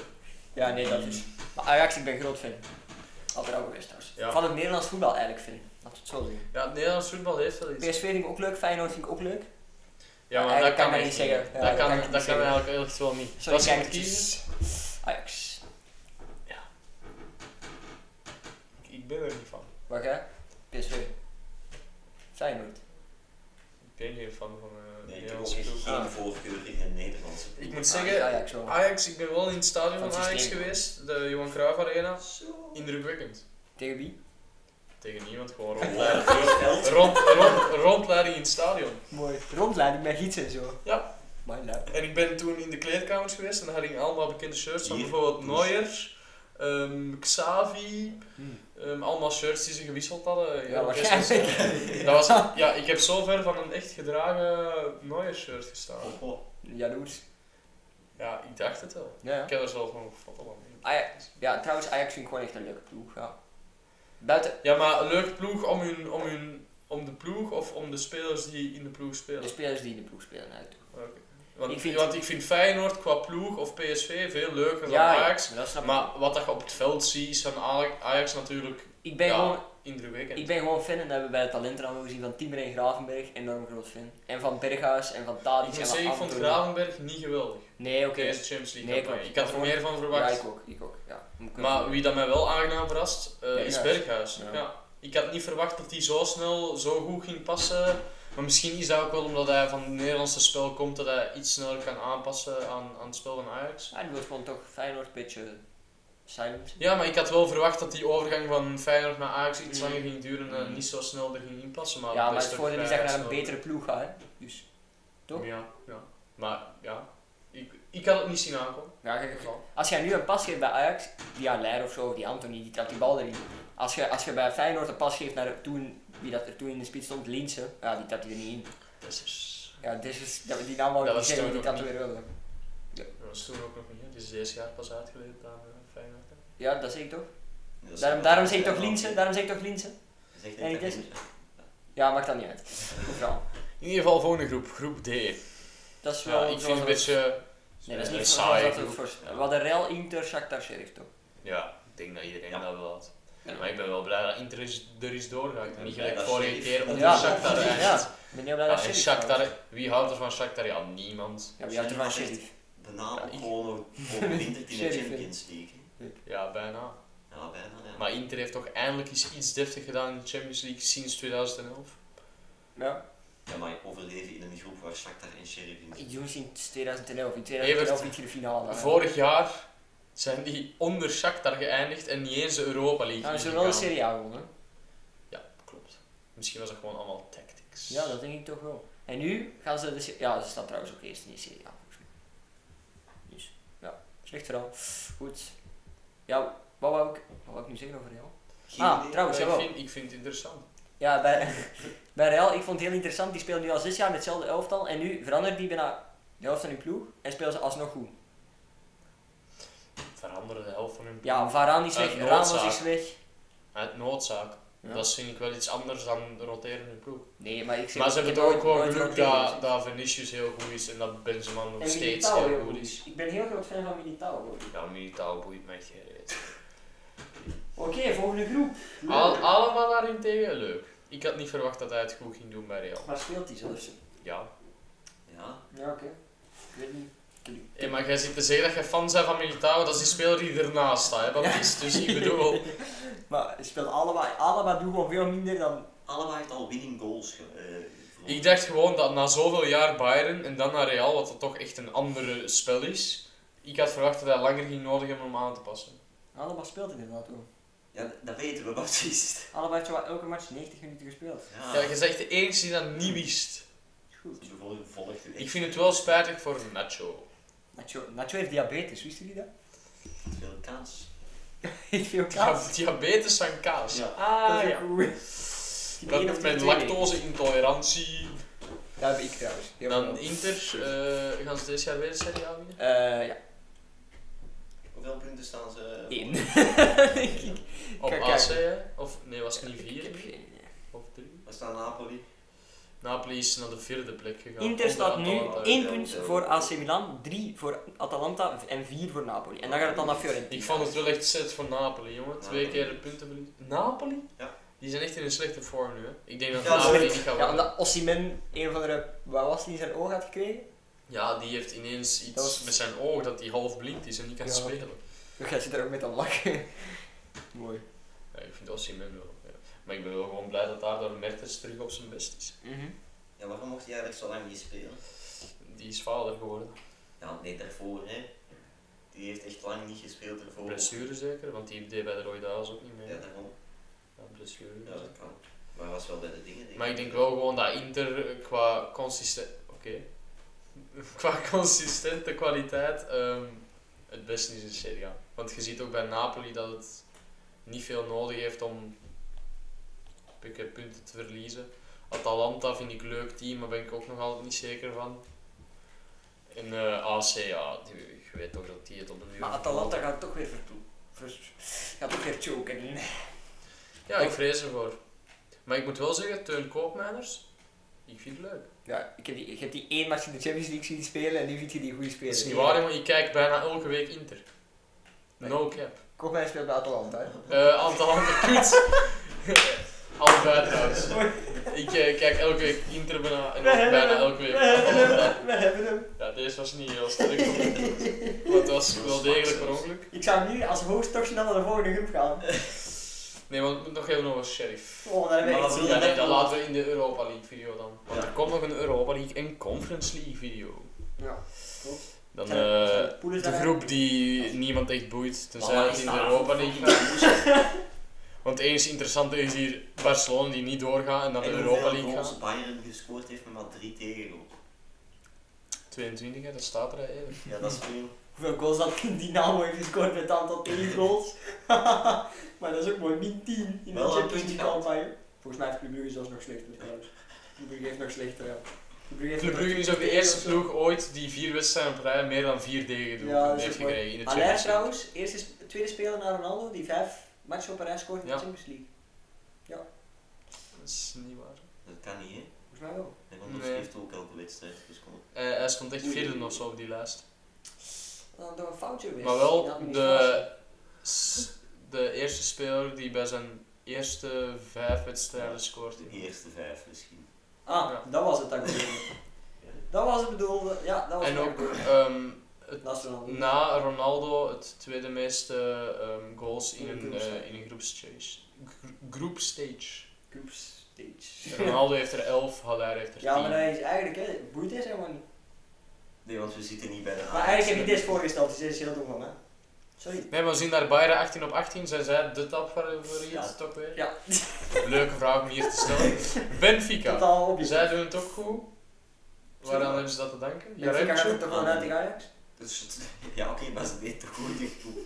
Ja, nee, dat is. Maar Ajax, ik ben groot fan. Altijd ook geweest trouwens.
Ja.
Van het Nederlands voetbal eigenlijk fan. Laat het zo zeggen.
Ja, het Nederlands voetbal heeft wel iets.
PSV vind ik ook leuk, Feyenoord vind ik ook leuk.
Ja, maar
Ja,
dat
ik
kan
kan
ik
dat
niet
niet
zeggen.
zeggen. Ja,
dat
dat
kan,
kan ik niet
dat kan
zeggen.
eigenlijk echt wel niet.
Sorry,
dat is
kijkertjes.
kiezen.
Ajax.
Ik ben er niet van.
Wacht hè. PSV. Feyenoord.
Ik ben hier van. van eh
Nee, ik heb ook
Nederlands
echt
ploeg.
geen
Ah.
voorkeur in een Nederlandse ploeg.
Ik moet zeggen,
Ajax wel.
Ajax, ik ben wel in het stadion
Ah, Van
van,
het
Ajax
systeem.
geweest, de Johan Cruijff
Ah,
Arena.
Zo.
Indrukwekkend.
Tegen wie?
Tegen niemand, gewoon
Rondleiding
rondleiding.
door het veld.
rond, rond, rondleiding in het stadion.
Mooi. Rondleiding met gids en zo.
Ja.
Maar nou. leuk.
En ik ben toen in de kleedkamers geweest en daar hingen allemaal bekende shirts van
Hier,
bijvoorbeeld
dus.
poes.
Neuer, ehm, Xavi,
Hmm.
Ehm, allemaal shirts die ze gewisseld hadden.
Ja,
dat is-
waarschijnlijk.
Dat was, ja, ik heb zo ver van een echt gedragen Neuer shirt gestaan.
Oh, oh.
Jaloers.
Ja, ik dacht het wel.
Ja.
Ik heb er zelf nog een foto van.
Ajax. Ja, trouwens, Ajax vind ik gewoon echt een leuke ploeg. Ja. Buiten
Ja, maar een leuke ploeg om, hun, om, hun, om de ploeg of om de spelers die in de ploeg
de
spelen.
spelers die in de ploeg spelen uit.
Want
Ik
ik
vind-
vind, want ik vind Feyenoord qua ploeg of PSV veel leuker dan Ajax.
dat snap ik.
Maar wat dat je op het veld ziet is van Ajax, Ajax natuurlijk
ik ben
ja.
gewoon
indrukwekkend.
Ik ben gewoon fan en dat hebben we bij de talentenramen gezien van Timmer en Gravenberg. Enorm groot fan. En van Berghuis en van Tadic
Ik
en
moet
van
zeggen, ik vond
Anthony.
Gravenberg niet geweldig.
Nee, oké.
Deze Champions League
Nee,
campagne.
klopt.
Ik had er
Maar
meer van
Ja,
verwacht.
ik ook. Ik ook, ja. Moet ik
Maar
ook-
wie dat mij wel aangenaam verrast, eh, is
Berghuis.
Berghuis.
Ja.
Ja. Ik had niet verwacht dat hij zo snel, zo goed ging passen. Maar misschien is dat ook wel omdat hij van het Nederlandse spel komt, dat hij iets sneller kan aanpassen aan, aan het spel van Ajax.
Ja, Ah, die wil gewoon toch Feyenoord een beetje silence.
Ja, maar ik had wel verwacht dat die overgang van Feyenoord naar Ajax iets
Mm.
langer ging duren en
Mm.
niet zo snel er ging inpassen. Maar
ja,
dat
maar het
toch
voordeel is dat
vrij
je naar een
snel.
betere ploeg gaat, hè. Dus, toch?
Ja, ja. Maar ja, ik, ik had het niet zien aankomen.
ja, je- als jij nu een pas geeft bij Ajax, die aan Leijer of zo, of die Anthony, die trapt die bal erin. Als je, als je bij Feyenoord een pas geeft naar toen, wie dat er toen in de spits stond, Linse, ja, die trapt die er niet in.
Dat is,
Ja, dus is, dat- die naam wou ik
Dat
niet
was
zeggen, want
toen
die trapt
ook
weer wel. hè.
dat was toen ook nog niet. hè. Die is deze jaar pas uitgeleerd aan eh, Feyenoord. hè.
Ja, dat zeg ik toch?
Dat is
Daarom,
wel-
daarom zeg ik toch Linse, daarom zeg ik toch Linse.
Dat is echt
En
niet
ik
echt
is-
Linse.
Ja, maakt dat niet uit. Mevrouw.
In ieder geval volgende groep, groep D.
Dat is wel
Ja, ik
zoals
vind het een
dat-
beetje... eh,
Nee, dat is
een
niet
saaie
zoals dat we
groep.
voor...
Ja.
We hadden Real, Inter, Shakhtar, Sheriff toch?
Ja, ik denk dat iedereen
Ja.
dat wel had.
Ja.
Maar ik ben wel blij dat Inter is, er is doorgegaan.
Ja,
niet
blij
gelijk
dat
vorige
Sheriff-
keer onder
Ja.
Shakhtar.
Ja.
echt.
Ja. Ik ben heel blij dat
en
Sheriff trouwens.
Shakhtar, wie houdt er van Shakhtar? Ja, niemand.
Ja, wie houdt er van Sheriff?
De naam
Ja,
ook
ik-
gewoon nog overwinterd in de
Sheriff, hè.
Champions League. hè.
Ja, bijna.
Ja, bijna. Ja.
Maar Inter heeft toch eindelijk eens iets deftig gedaan in de Champions League sinds 2011.
Ja.
Ja, maar overleven in een groep waar Shakhtar en Sheriff in
Ik doe sinds 2011. In 2011 niet in de finale. hè.
Vorig jaar zijn die onder Shakhtar geëindigd en niet eens de Europa League
Ja, Nou, ze hebben wel de
ingegaan.
Serie A gewonnen.
Ja, klopt. Misschien was dat gewoon allemaal tactics.
Ja, dat denk ik toch wel. En nu gaan ze de Serie Ja, ze staan trouwens ook eerst in de Serie A volgens mij. Dus, ja. Slecht verhaal. Goed. Ja, wat wou ik, wat wou ik nu zeggen over Real?
Geen
Ah,
idee.
trouwens,
Maar ik,
jawel.
vind, ik vind het interessant.
Ja, bij, bij Real, ik vond het heel interessant. Die speelt nu al zes jaar met hetzelfde elftal. En nu verandert die bijna de helft van hun ploeg en spelen ze alsnog goed.
Veranderen de helft van hun ploeg.
Ja, Varaan is
Uit
weg, Ramos
noodzaak.
is weg.
Uit noodzaak.
Ja.
Dat is vind ik wel iets anders dan roteren in ploeg.
Nee, maar ik zeg
maar ze
ik
hebben
heb
toch ook
nooit-
gewoon
nooit
geluk dat,
Ronaldinho gezien.
dat Vinicius heel goed is en dat Benzema nog
En
steeds
Militao
heel goed is.
Ik ben heel groot fan van Militao. hoor.
Ja, Militao boeit mij geen reet.
Oké, volgende groep.
Al, allemaal daarentegen leuk. Ik had niet verwacht dat hij het goed ging doen bij Real.
Waar speelt hij zelfs?
Ja.
Ja,
Ja, oké. Ik weet niet. Ik heb-
Hey, maar jij zit te zeggen dat jij fan bent van Militao, dat is die speler die ernaast staat, hè, Baptiste. Dus ik bedoel,
Maar ze speelt allebei. Allebei doen gewoon veel minder dan
allebei heeft al winning goals ge, eh, voor
ik dacht gewoon dat na zoveel jaar Bayern en dan naar Real, wat dat toch echt een ander spel is, ik had verwacht dat hij langer ging nodig hebben om aan te passen.
Allemaal speelt inderdaad ook.
Ja, d- dat weten we, Baptiste.
Allebei heeft zo elke match 90 minuten gespeeld.
Ja,
Ja, je zegt de enige die dat niet wist.
Goed.
de volgende volgt u echt.
Ik vind het wel spijtig voor Nacho.
Nacho, Nacho heeft diabetes, wisten jullie dat?
Veel kaas.
Heeft veel
Ja,
kaas.
diabetes van kaas.
Ja.
Dat
Ah
is
ja.
ook goed. Die één of
Dat
die
met
twee.
lactose-intolerantie.
Dat heb ik trouwens. Heel
Dan
veel.
Inter, eh, gaan ze dit jaar weer de Serie A winnen?
Eh, ja,
Hoeveel punten staan ze? voor?
één. Denk ik.
Op
Kijk,
AC,
kijk.
hè? Of nee, was het niet
Ik heb
vier?
geen idee.
Of drie?
Waar staan Napoli?
Napoli is naar de vierde plek gegaan. eh,
Inter staat nu
Onder Atalanta.
1 punt voor AC Milan, 3 voor Atalanta en 4 voor Napoli. En dan gaat het dan naar Fiorentina.
Ik vond het wel echt set voor Napoli, jongen. Twee
Napoli.
keer de punten verliezen. Napoli?
Ja.
Die zijn echt in een slechte vorm nu, hè. Ik denk dat
Ja,
Napoli
zeker.
niet gaat
Ja,
winnen.
omdat Osimhen een of andere, waar was die, zijn oog had gekregen?
Ja, die heeft ineens iets
Dat was-
met zijn oog dat hij half blind is en niet kan
Ja.
spelen.
Dan gaat ze Dus daar ook met aan lachen. Mooi.
Ja, ik vind Osimhen wel. ja. Maar ik ben wel gewoon blij dat daardoor Mertens terug op zijn best is.
Ja, waarom mocht hij eigenlijk zo lang niet spelen?
Die is vader geworden.
Ja, nee, daarvoor hè. Die heeft echt lang niet gespeeld daarvoor.
Blessure zeker, want die deed bij de Roy Daas ook niet meer.
Oh. Ja, daarom.
Ja, blessure.
Ja, dat kan. Maar hij was wel bij de dingen. denk
Maar ik denk wel gewoon dat Inter eh, qua consistent... Oké. qua consistente kwaliteit ehm, het beste is in Serie A. Want je ziet ook bij Napoli dat het niet veel nodig heeft om pikken punten te verliezen. Atalanta vind ik een leuk team, maar ben ik ook nog altijd niet zeker van. En eh, AC, ja, die- je weet toch dat die het op een uur...
Maar Atalanta gaat toch weer verplo- vers- Gaat toch weer choken.
Ja, ik vrees ervoor. Maar ik moet wel zeggen, Teun Koopmeiners, ik vind het leuk.
Ja, ik heb, die, ik heb die één match in de Champions League zien spelen en nu vind je die goede speler.
Dat is niet waar, maar ik kijk bijna elke week Inter. No cap.
Koopmijn speelt bij Atalanta. hè.
Eh aantal handen kut. Altijd trouwens. Ik eh, kijk elke week Inter bijna en ook bijna elke week Atalanta.
We hebben hem.
Ja, deze was niet heel sterk. Maar het was wel degelijk per ongeluk.
Ik zou nu als host toch snel naar de volgende groep gaan.
Nee, want ik moet nog even over Sheriff.
Oh, daar hebben we
Maar
echt
wat
zin
wil
Ja,
in.
nee, dat laten we in de Europa League video dan. Want
Ja.
er komt nog een Europa League en Conference League video.
Ja,
Dan
Zijn er- zijn
eh
er poelen
de
zijn?
groep die niemand echt boeit, tenzij
Maar waar
het
is
in de
dat
Europa
voor
League
voetbal?
Want het enige interessante is hier Barcelona die niet doorgaat en dan de
En
Europa
hoeveel
League
goals
gaat.
Bayern gescoord heeft met maar drie tegengoals.
22, hè, dat staat er eigenlijk.
Ja, dat is veel.
Hoeveel goals dat Dynamo heeft gescoord met het aantal tegengoals. maar dat is ook mooi, min 10 in de
Wel een
Champions
puntje
League
gehad.
campagne. Volgens mij heeft Club Brugge zelfs nog slechter trouwens. Club Brugge heeft nog slechter, ja. Club Brugge, heeft
Club
nog
Brugge is ook de
20
eerste
of zo.
ploeg ooit die vier wedstrijden op rij meer dan vier degen
Ja, dat is
heeft
ook mooi.
gekregen in de
Allaire
Champions League.
trouwens, eerste, sp- tweede speler na Ronaldo die vijf matchen op een rij scoort in
Ja.
de Champions League.
Dat is niet waar.
Dat kan niet, hè?
Volgens mij wel.
En anders
Nee.
heeft ook elke wedstrijd gescoord.
Eh, hij stond echt vierde of zo op die lijst.
Dan door een foutje geweest.
Maar
in
wel
administratie.
de, s- de eerste speler die bij zijn eerste vijf wedstrijden scoort.
De eerste vijf misschien.
Ah,
Ja.
dat was het dan. dat was het bedoelde. Ja, dat was
En
het
ook
bedoelde.
ehm, het
Dat is Ronaldo.
Na Ronaldo het tweede meeste ehm, goals in
In een
een,
groepstage.
eh, in een groepsstage. Gro- Groepstage.
Group stage.
Ronaldo heeft er 11, Haller heeft er 10.
Ja, maar hij is eigenlijk, hè, boeit is helemaal niet.
Nee, want we zitten niet bij de
Maar eigenlijk heb ik dit voorgesteld, dus dit is heel dom van hè. Sorry.
Nee, maar we zien daar Bayern 18 op 18. Zijn zij de topfavoriet
Ja.
toch weer?
Ja,
Leuke vraag om hier te stellen. Benfica.
totaal op
Zij doen het ook goed. Waaraan
Tuurlijk.
hebben ze dat te danken?
Ja, ik
Jaremtje?
gaat er toch wel uit tegen Ajax?
Dus, ja, oké, maar ze deed toch goed in groep.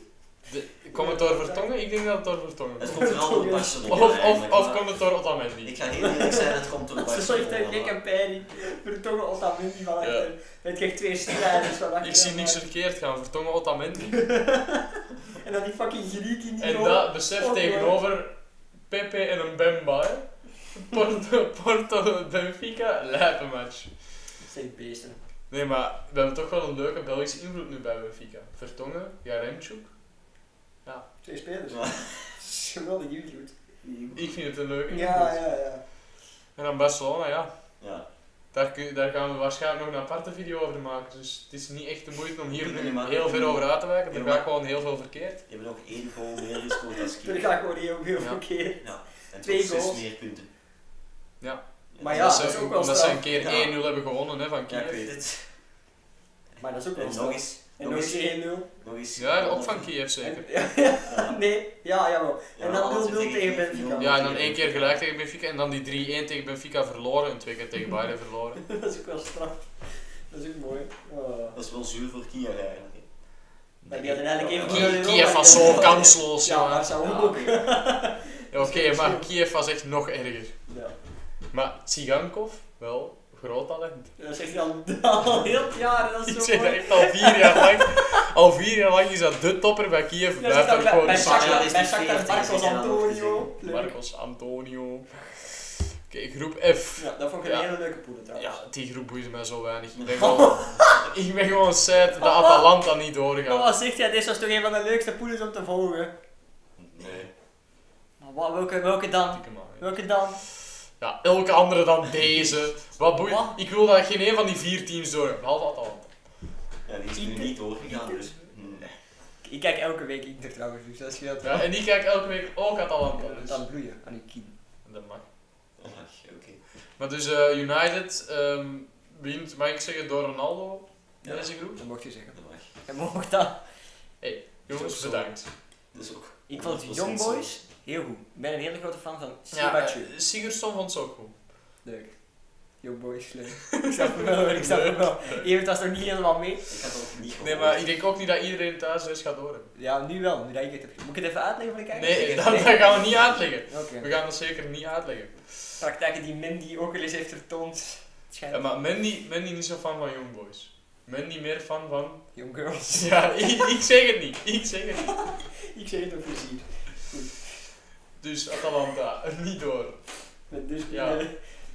De- komt het door Vertongen? Ik denk dat het door Vertongen
Het
komt.
komt vooral door Barcelona.
Of, of,
eigenlijk,
of
maar
komt het door Otamendi?
Ik ga heel eerlijk zijn, het komt door
Ze zorgt
Barcelona.
dat ik en Perry vertongen op dat muntje van
Ja.
achter. Het krijgt twee strijders van achter.
Ik zie niks verkeerd gaan. Vertongen Otamendi.
En dan die fucking Griek in die
En
goal.
dat besef
Oh,
tegenover Pepe en een Bemba. hè. Porto, Porto Benfica, lijpe match.
Dat zijn beesten.
Nee, maar we hebben toch wel een leuke Belgische invloed nu bij Benfica. Vertongen, Jaremchuk.
Twee spelers.
Ja.
Geweldig invloed.
Ik vind het een leuke invloed.
Ja, ja, ja.
En dan Barcelona, ja.
Ja,
Daar, kun, daar gaan we waarschijnlijk nog een aparte video over maken. Dus het is niet echt de moeite om hier
Nee,
nu
maar-
heel veel over uit te wijken. Er
Ja, maar-
gaat gewoon heel veel verkeerd.
je hebt nog één goal meer gescoord dan
Toen
Kiel.
ga ik gewoon heel veel
Ja.
verkeerd.
En
Twee
tot zes
goals.
meer punten.
Ja.
Maar ja,
Omdat
dat
ze-
is ook wel
Omdat ze
straf.
een keer
Ja.
1-0 hebben gewonnen hè, van
Ja, ik
Kiev.
weet het.
Maar dat is ook wel
En nog
straf.
eens.
En nog eens 1-0.
Nog eens.
Ja, ook van Kiev zeker.
Ja.
Nee, ja, jawel.
Ja,
en dan
alles
0-0 tegen
tegen
Benfica.
Benfica.
Ja, en dan één keer gelijk tegen Benfica en dan die 3-1 tegen Benfica verloren en twee keer tegen Bayern verloren.
dat is ook wel straf. Dat is ook mooi. Oh.
Dat is wel zuur voor Kia eigenlijk. hè.
Maar die hadden eigenlijk even
Ki-
veel
Kiev was zo kansloos,
Ja, maar
jongen.
zou
Ja,
ook.
oké.
Ja, Oké, maar Kiev was echt nog erger.
Ja.
Maar Tsigankov, wel, groot talent.
Dat zegt hij al, al heel het jaar. Dat is
Ik
zo
zeg dat
mooi.
echt al vier jaar lang. Al vier jaar lang is dat de topper bij Kiev.
Ja,
Blijft
dat
er
bij-
gewoon
bij
in.
Shakhtar-
Shakhtar-
is
Bij
die
Shakhtar
40,
Marcos
die zijn al
Antonio. Leuk.
Marcos Antonio. Oké, groep F.
Ja, dat vond ik een
Ja.
hele leuke poeder trouwens.
Ja, die groep boeit mij zo weinig. Ik ben gewoon, ik ben gewoon sad dat Atalanta niet
Maar
doorgaat.
wat zegt hij? Dit was toch een van de leukste poeders om te volgen?
Nee.
Maar wat, welke, welke dan?
Dikke man, hè.
Welke dan?
Ja, elke andere dan deze. Wat boeit...
Wat?
Ik wil dat geen een van die vier teams doorgaat, behalve Atalanta.
Ja, die is nu
Inter-
niet doorgegaan, dus. hm.
Ik kijk elke week Inter trouwens, dus dat scheelt wel.
Ja, en die kijk elke week ook Atalanta.
Ja,
Dus.
Dan bloeien aan die kiem.
Dat mag.
Ach, oké.
Maar dus eh, United ehm wint, mag ik zeggen, door Ronaldo in
Ja.
deze groep.
Dat mocht je zeggen.
Dat mag.
En mocht dat.
Jongens,
Zo.
bedankt.
Dat is ook.
Ik vond de
100%
Young
zo.
Boys heel goed. Ik ben een hele grote fan van
Ja, eh,
Sibachu.
Sigurdsson vond ze ook goed.
Leuk. Young Boys, leuk. Ik snap het wel, ik snap het wel. Evert was nog niet helemaal mee.
Ik had ook niet gehoord.
Nee, maar ik denk ook niet dat iedereen thuis is gaat door hebben.
Ja, nu wel, nu dat ik het heb. Moet ik het even uitleggen voor de kijkers?
Nee, dat, dat gaan we niet uitleggen.
Oké.
We gaan dat zeker niet uitleggen.
Praktijken die Mindy ook al eens heeft vertoond.
Ja,
Schijnbaar.
maar Mandy, Mandy niet zo fan van Young Boys. Mandy meer fan van...
Young Girls.
Ja, ik, ik zeg het niet. Ik zeg het niet.
Ik zeg het op plezier.
Dus Atalanta, niet door.
Met dus
Ja.
eh,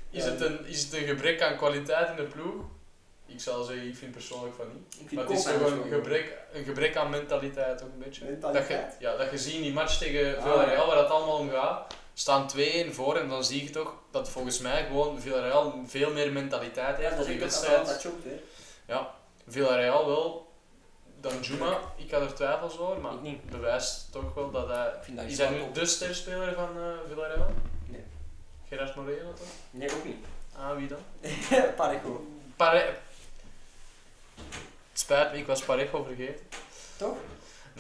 Is,
Ja.
het een, is het een gebrek aan kwaliteit in de ploeg? Ik zal zeggen, ik vind persoonlijk van niet.
ik vind
Maar het is
Koopman
toch
ook
een
wel
gebrek, een gebrek aan mentaliteit ook een beetje. Dat je,
Mentaliteit?
ja, dat je ziet in die match tegen
Ah,
Villarreal,
ja.
waar het allemaal om gaat, staan 2-1 voor en dan zie je toch dat volgens mij gewoon Villarreal veel meer mentaliteit
Ja,
heeft
dat
dan
is
die
ook dat Atalanta
wedstrijd.
choked, hè.
Villarreal wel, dan Juma, ik had er twijfels over, maar
Ik niet.
bewijst toch wel dat hij...
Ik vind dat
Is
hij
hij nu de sterspeler van eh, Villarreal?
Nee.
Gerard Moreno toch?
Nee, ook niet.
Ah, wie dan?
Parejo.
Pare... Het spijt me, ik was Parejo vergeten.
Toch?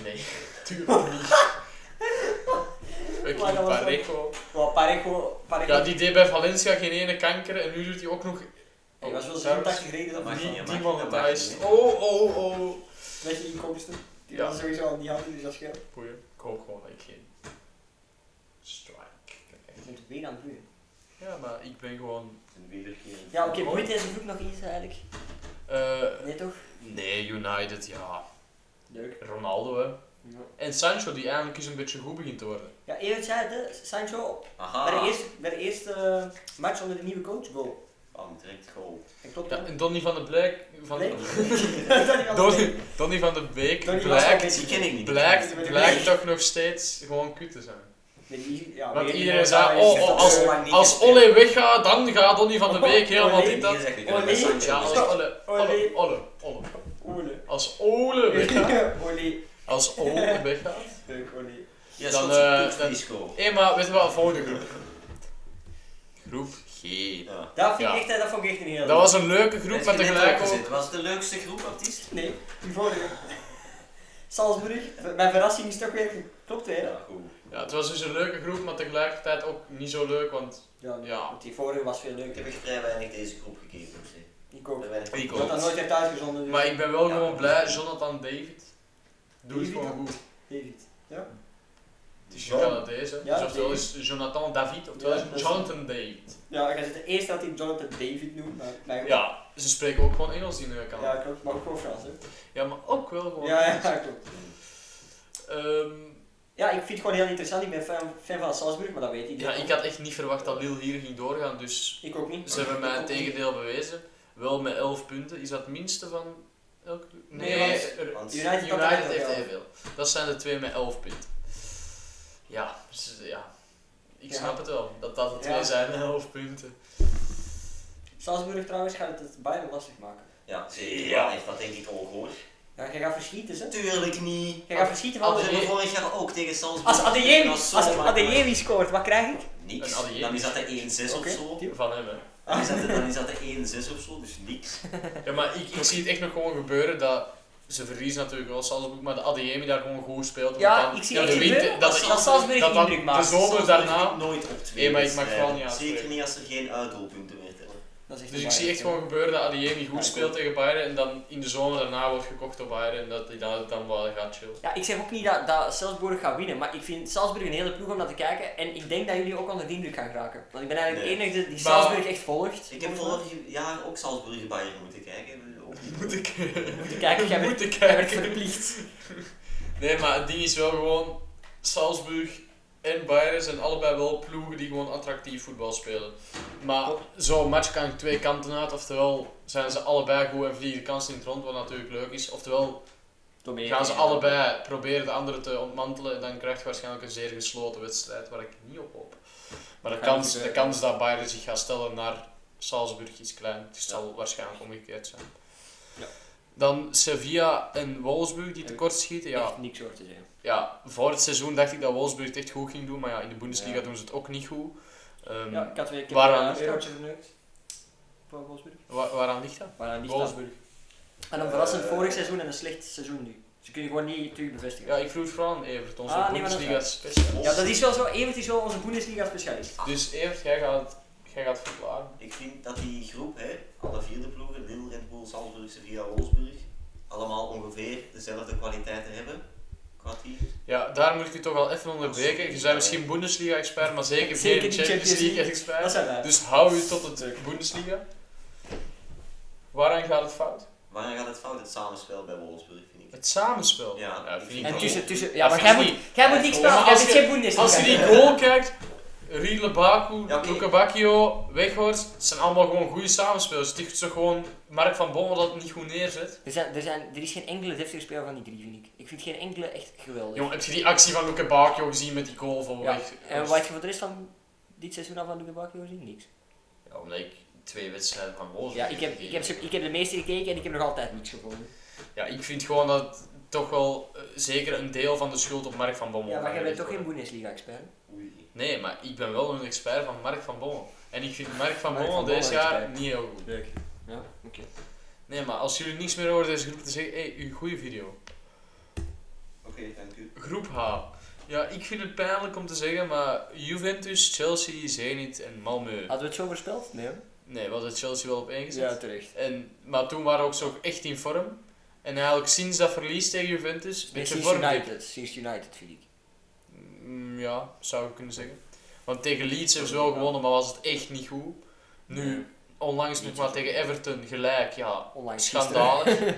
Nee, tuurlijk niet.
Maar
Fucking
dat was
Parejo.
Maar Parejo... Parejo
Ja, die deed bij Valencia geen ene kanker en nu doet hij ook nog...
Hij was wel
Oh,
zo'n
trouwens,
tactisch gereden dat
Maar
hij
niet-
Die,
Ja,
die
maar-
man
dat
daar
maakt
is...
niet uit.
Oh, oh, oh.
Met je inkomsten. Die
Ja.
was sowieso al niet hadden, dus dat scheelt.
Boeien, ik hoop gewoon dat ik geen... Strike krijg.
Je bent weer aan het bloeien.
Ja, maar ik ben gewoon...
Een wederkerend.
Ja, oké,
Mooi.
boeit deze groep nog iets eigenlijk?
eh,
Nee, toch?
nee, United, ja.
Leuk.
Ronaldo, hè.
Ja,
En Sancho, die eigenlijk eens een beetje goed begint te worden.
ja Evert zei het, hè. Sancho
Ah.
Aha.
Bij de eerste, bij de eerste eh, match onder de nieuwe coach goal.
Bam, Oh, direct goal.
Dat klopt.
Ja,
hè?
en Donny van de Blijk... Van
Nee.
Donny, Donny van de Beek
Donny was wel
blijkt,
bezig.
Die ken ik niet.
Met
blijkt,
de
blijkt
Beek.
toch nog steeds gewoon kut te zijn.
Nee, die- ja,
Want
weet je,
iedereen
die
zei,
man
oh,
daar
oh,
is-
als,
eh,
als Olle weggaat, dan gaat Donny van de Beek helemaal
Olé.
dit dat.
Olé.
Ja, als Olle, Olle, Olle, Olle. Oh.
Ole.
Als Ole weggaat,
Ole.
als Ole weggaat.
Leuk, Ole.
Ja,
Dan,
dan
eh,
eh
dan-
disco.
Hé, maar weet je wat, volgende groep. Groep G.
Ja.
Dat vind ik
Ja.
echt, dat vond ik echt een hele
Dat was een leuke groep, maar
Heb je net
tegelijk
al
ook...
gezet? Was het de leukste groep, artiest?
Nee, die vorige. Salzburg, mijn verrassing is toch weer... Klopt weer, hè?
Ja, goed.
Ja, het was dus een leuke groep, maar tegelijkertijd ook niet zo leuk, want
Ja, nee,
Ja.
want die vorige was veel
Ik
leuker.
heb echt vrij weinig deze groep gekeken, moet ik zeggen.
Ik ook.
Vrij weinig.
Ik
Dat dat nooit heeft uitgezonden. Dus.
Maar ik ben wel
Ja.
gewoon blij, Jonathan David. Doe het
Wie
gewoon goed.
Die David.
Het is
John.
Canadees, hè?
Ja,
dus oftewel
David.
is Jonathan David, oftewel is
Ja, dat
het
is-
Jonathan David.
Ja, ik is het eerste dat hij Jonathan David noemt, maar mij
Ja, ze spreken ook gewoon Engels in eh, Canada.
ja, klopt, maar ook gewoon Frans, hè?
Ja, maar ook wel gewoon.
Ja, ja, klopt.
Ehm,
Ja, ik vind het gewoon heel interessant. Ik ben fan, fan van Salzburg, maar dat weet ik.
ja, ik had echt niet verwacht dat Lille hier ging doorgaan, dus
Ik ook niet.
ze hebben mij het
Ik ook niet.
tegendeel bewezen. Wel met 11 punten, is dat het minste van elke club?
Nee, want-
er-
Want
United, kan
United
dat
heeft
wel.
evenveel. Dat zijn de twee met 11 punten. Ja, dus, ja. ik
Ja.
snap het wel. Dat dat de twee
Ja.
zijn met 11 punten.
Salzburg trouwens gaat het het Bayern lastig maken.
ja, zeker.
Ja.
Ja. heeft dat denk ik ook hoor.
Ja, jij gaat verschieten, hè?
Tuurlijk niet.
Jij gaat verschieten van...
We
Als-
hebben vorig jaar ook tegen Salzburg.
Als Adeyemi,
Dat was
als
zo makkelijk.
Adeyemi scoort, wat krijg ik?
Niks.
Een Adeyemi.
Dan is dat de 1-6
Oké.
of zo.
Van hem, hè.
Dan is dat de, dan is dat de 1-6 of zo, dus niks.
Ja, maar ik, ik zie het echt nog gewoon gebeuren dat ze verliezen natuurlijk wel Salzburg, maar de Adeyemi daar gewoon goed speelt.
Ja,
Want dan-
ik zie
ja,
echt
de
gebeuren
winter-
dat
dat,
Sal- Salzburg
dat-
indruk
De
maakt.
zomer daarna.
Salzburg nooit op twee
Nee, maar ik mag
wedstrijden.
gewoon niet
Zeker
afspreken.
niet als er geen uitdoelpunten meer tellen.
Dat is echt
Dus
de
ik zie
Bayern,
echt gewoon gebeuren dat Adeyemi
Ja,
goed
ik
speelt
ook.
tegen Bayern en dan in de zomer daarna wordt gekocht door Bayern en dat hij dan, dan wel gaat chillen.
Ja, ik zeg ook niet dat, dat Salzburg gaat winnen, maar ik vind Salzburg een hele ploeg om naar te kijken. En ik denk dat jullie ook onder de indruk gaan raken. Want ik ben eigenlijk de
Nee.
enige die
Maar-
Salzburg echt volgt.
Ik heb vorig jaar ook Salzburg Bayern moeten kijken. Ook niet.
Moet ik
Moeten kijken, jij werd,
Moeten
jij werd
kijken.
verplicht.
Nee, maar het ding is wel gewoon, Salzburg en Bayern zijn allebei wel ploegen die gewoon attractief voetbal spelen. Maar zo'n match kan twee kanten uit, oftewel zijn ze allebei goed en vliegen de kansen in het rond, wat natuurlijk leuk is. Oftewel Gaan ze allebei proberen de andere te ontmantelen en dan krijg je waarschijnlijk een zeer gesloten wedstrijd waar ik niet op hoop. Maar de
Gaat niet eh,
kans, de
gebeuren.
kans dat Bayern zich gaat stellen naar Salzburg is klein. Het zal waarschijnlijk omgekeerd zijn.
Ja.
Dan Sevilla en Wolfsburg die tekort schieten. Ja,
Echt niks over te zeggen.
ja, voor het seizoen dacht ik dat Wolfsburg het echt goed ging doen, maar ja, in de Bundesliga
Ja.
doen ze het ook niet goed. Ehm,
Ja, ik had weer een keer
Waaraan-
een eurotje verneukt. Voor Wolfsburg.
wa- waaraan ligt dat?
Maar dan niet dat.
Wolfsburg.
En een verrassend
Eh,
vorig seizoen en een slecht seizoen nu. Dus Ze kunnen gewoon niet terug bevestigen.
Ja, ik vroeg vooral aan Everton, zo'n
Ah, nee, maar dat
Bundesliga special.
Ja, dat is wel zo. Evert is wel onze Bundesliga-specialist.
Dus Evert, jij gaat, jij gaat verklaren.
Ik vind dat die groep, hè, alle vierde ploegen, Lille, Red Bull, Salzburg, Sevilla, Wolfsburg, allemaal ongeveer dezelfde kwaliteiten hebben. Qua team.
Ja, daar moet ik u toch wel even onderbreken. Je bent misschien Bundesliga-expert, maar zeker,
Zeker
geen
niet
Champions
Champions Dat
League-expert.
zijn wij.
Dus hou u tot het Bundesliga. Waaraan gaat het fout?
Waarom gaat het fout? Het samenspel bij Wolfsburg, vind ik.
Het samenspel.
Ja,
dat vind ik
En
wel.
tussen, tussen, ja,
Dat
maar
vind
jij
ik
moet,
niet.
jij moet niks
Ja,
spelen.
maar
Jij
als
bent
je-
geen Bundesliga.
Als je die goal kijkt, Riedle Baku,
Ja, oké.
Luca Bacchio, Weghorst, het zijn allemaal gewoon goede samenspelers. Het is toch gewoon Mark van Bommel dat het niet goed neerzet.
Er, zijn, er, zijn, er is geen enkele deftige speler van die drie, vind ik. Ik vind geen enkele echt geweldig.
Jong, heb je die actie van Luca Bacchio gezien met die goal van
Ja.
Weghorst?
En wat je voor de rest van dit seizoen al van Luke Bakio gezien? Niks.
Ja, omdat ik twee wedstrijden van Wolfsburg
Ja, ik heb, ik, heb, ze- ik heb de meeste gekeken en ik heb nog altijd niks gevonden.
Ja, ik vind gewoon dat het toch wel eh, zeker een deel van de schuld op Mark van Bommel
Ja, maar jij bent
gelegd
toch geen
wordt.
Bundesliga-expert?
Oei.
Nee, maar ik ben wel een expert van Mark van Bommel. En ik vind Mark van
Mark
Bommel
van
deze
Bommel
jaar
expert.
niet heel goed.
Leuk. Ja, oké.
Nee, maar als jullie niks meer over deze groep te zeggen, hé, hey, uw goede video.
Oké, dank u.
Groep H. Ja, ik vind het pijnlijk om te zeggen, maar Juventus, Chelsea, Zenit en Malmö.
Hadden we het zo voorspeld? Nee. hoor.
Nee, we hadden Chelsea wel op één gezet.
terecht.
En, maar toen waren we ook zo echt in vorm. En eigenlijk sinds dat verlies tegen Juventus, een
Nee,
beetje
sinds
vorm.
United. Sinds United, vind ik.
Mm, ja, zou ik kunnen zeggen. Want tegen Leeds hebben ze wel gewonnen, maar was het echt niet goed. Nu, onlangs nog maar tegen Everton gelijk, ja,
Online
schandalig.
Ja.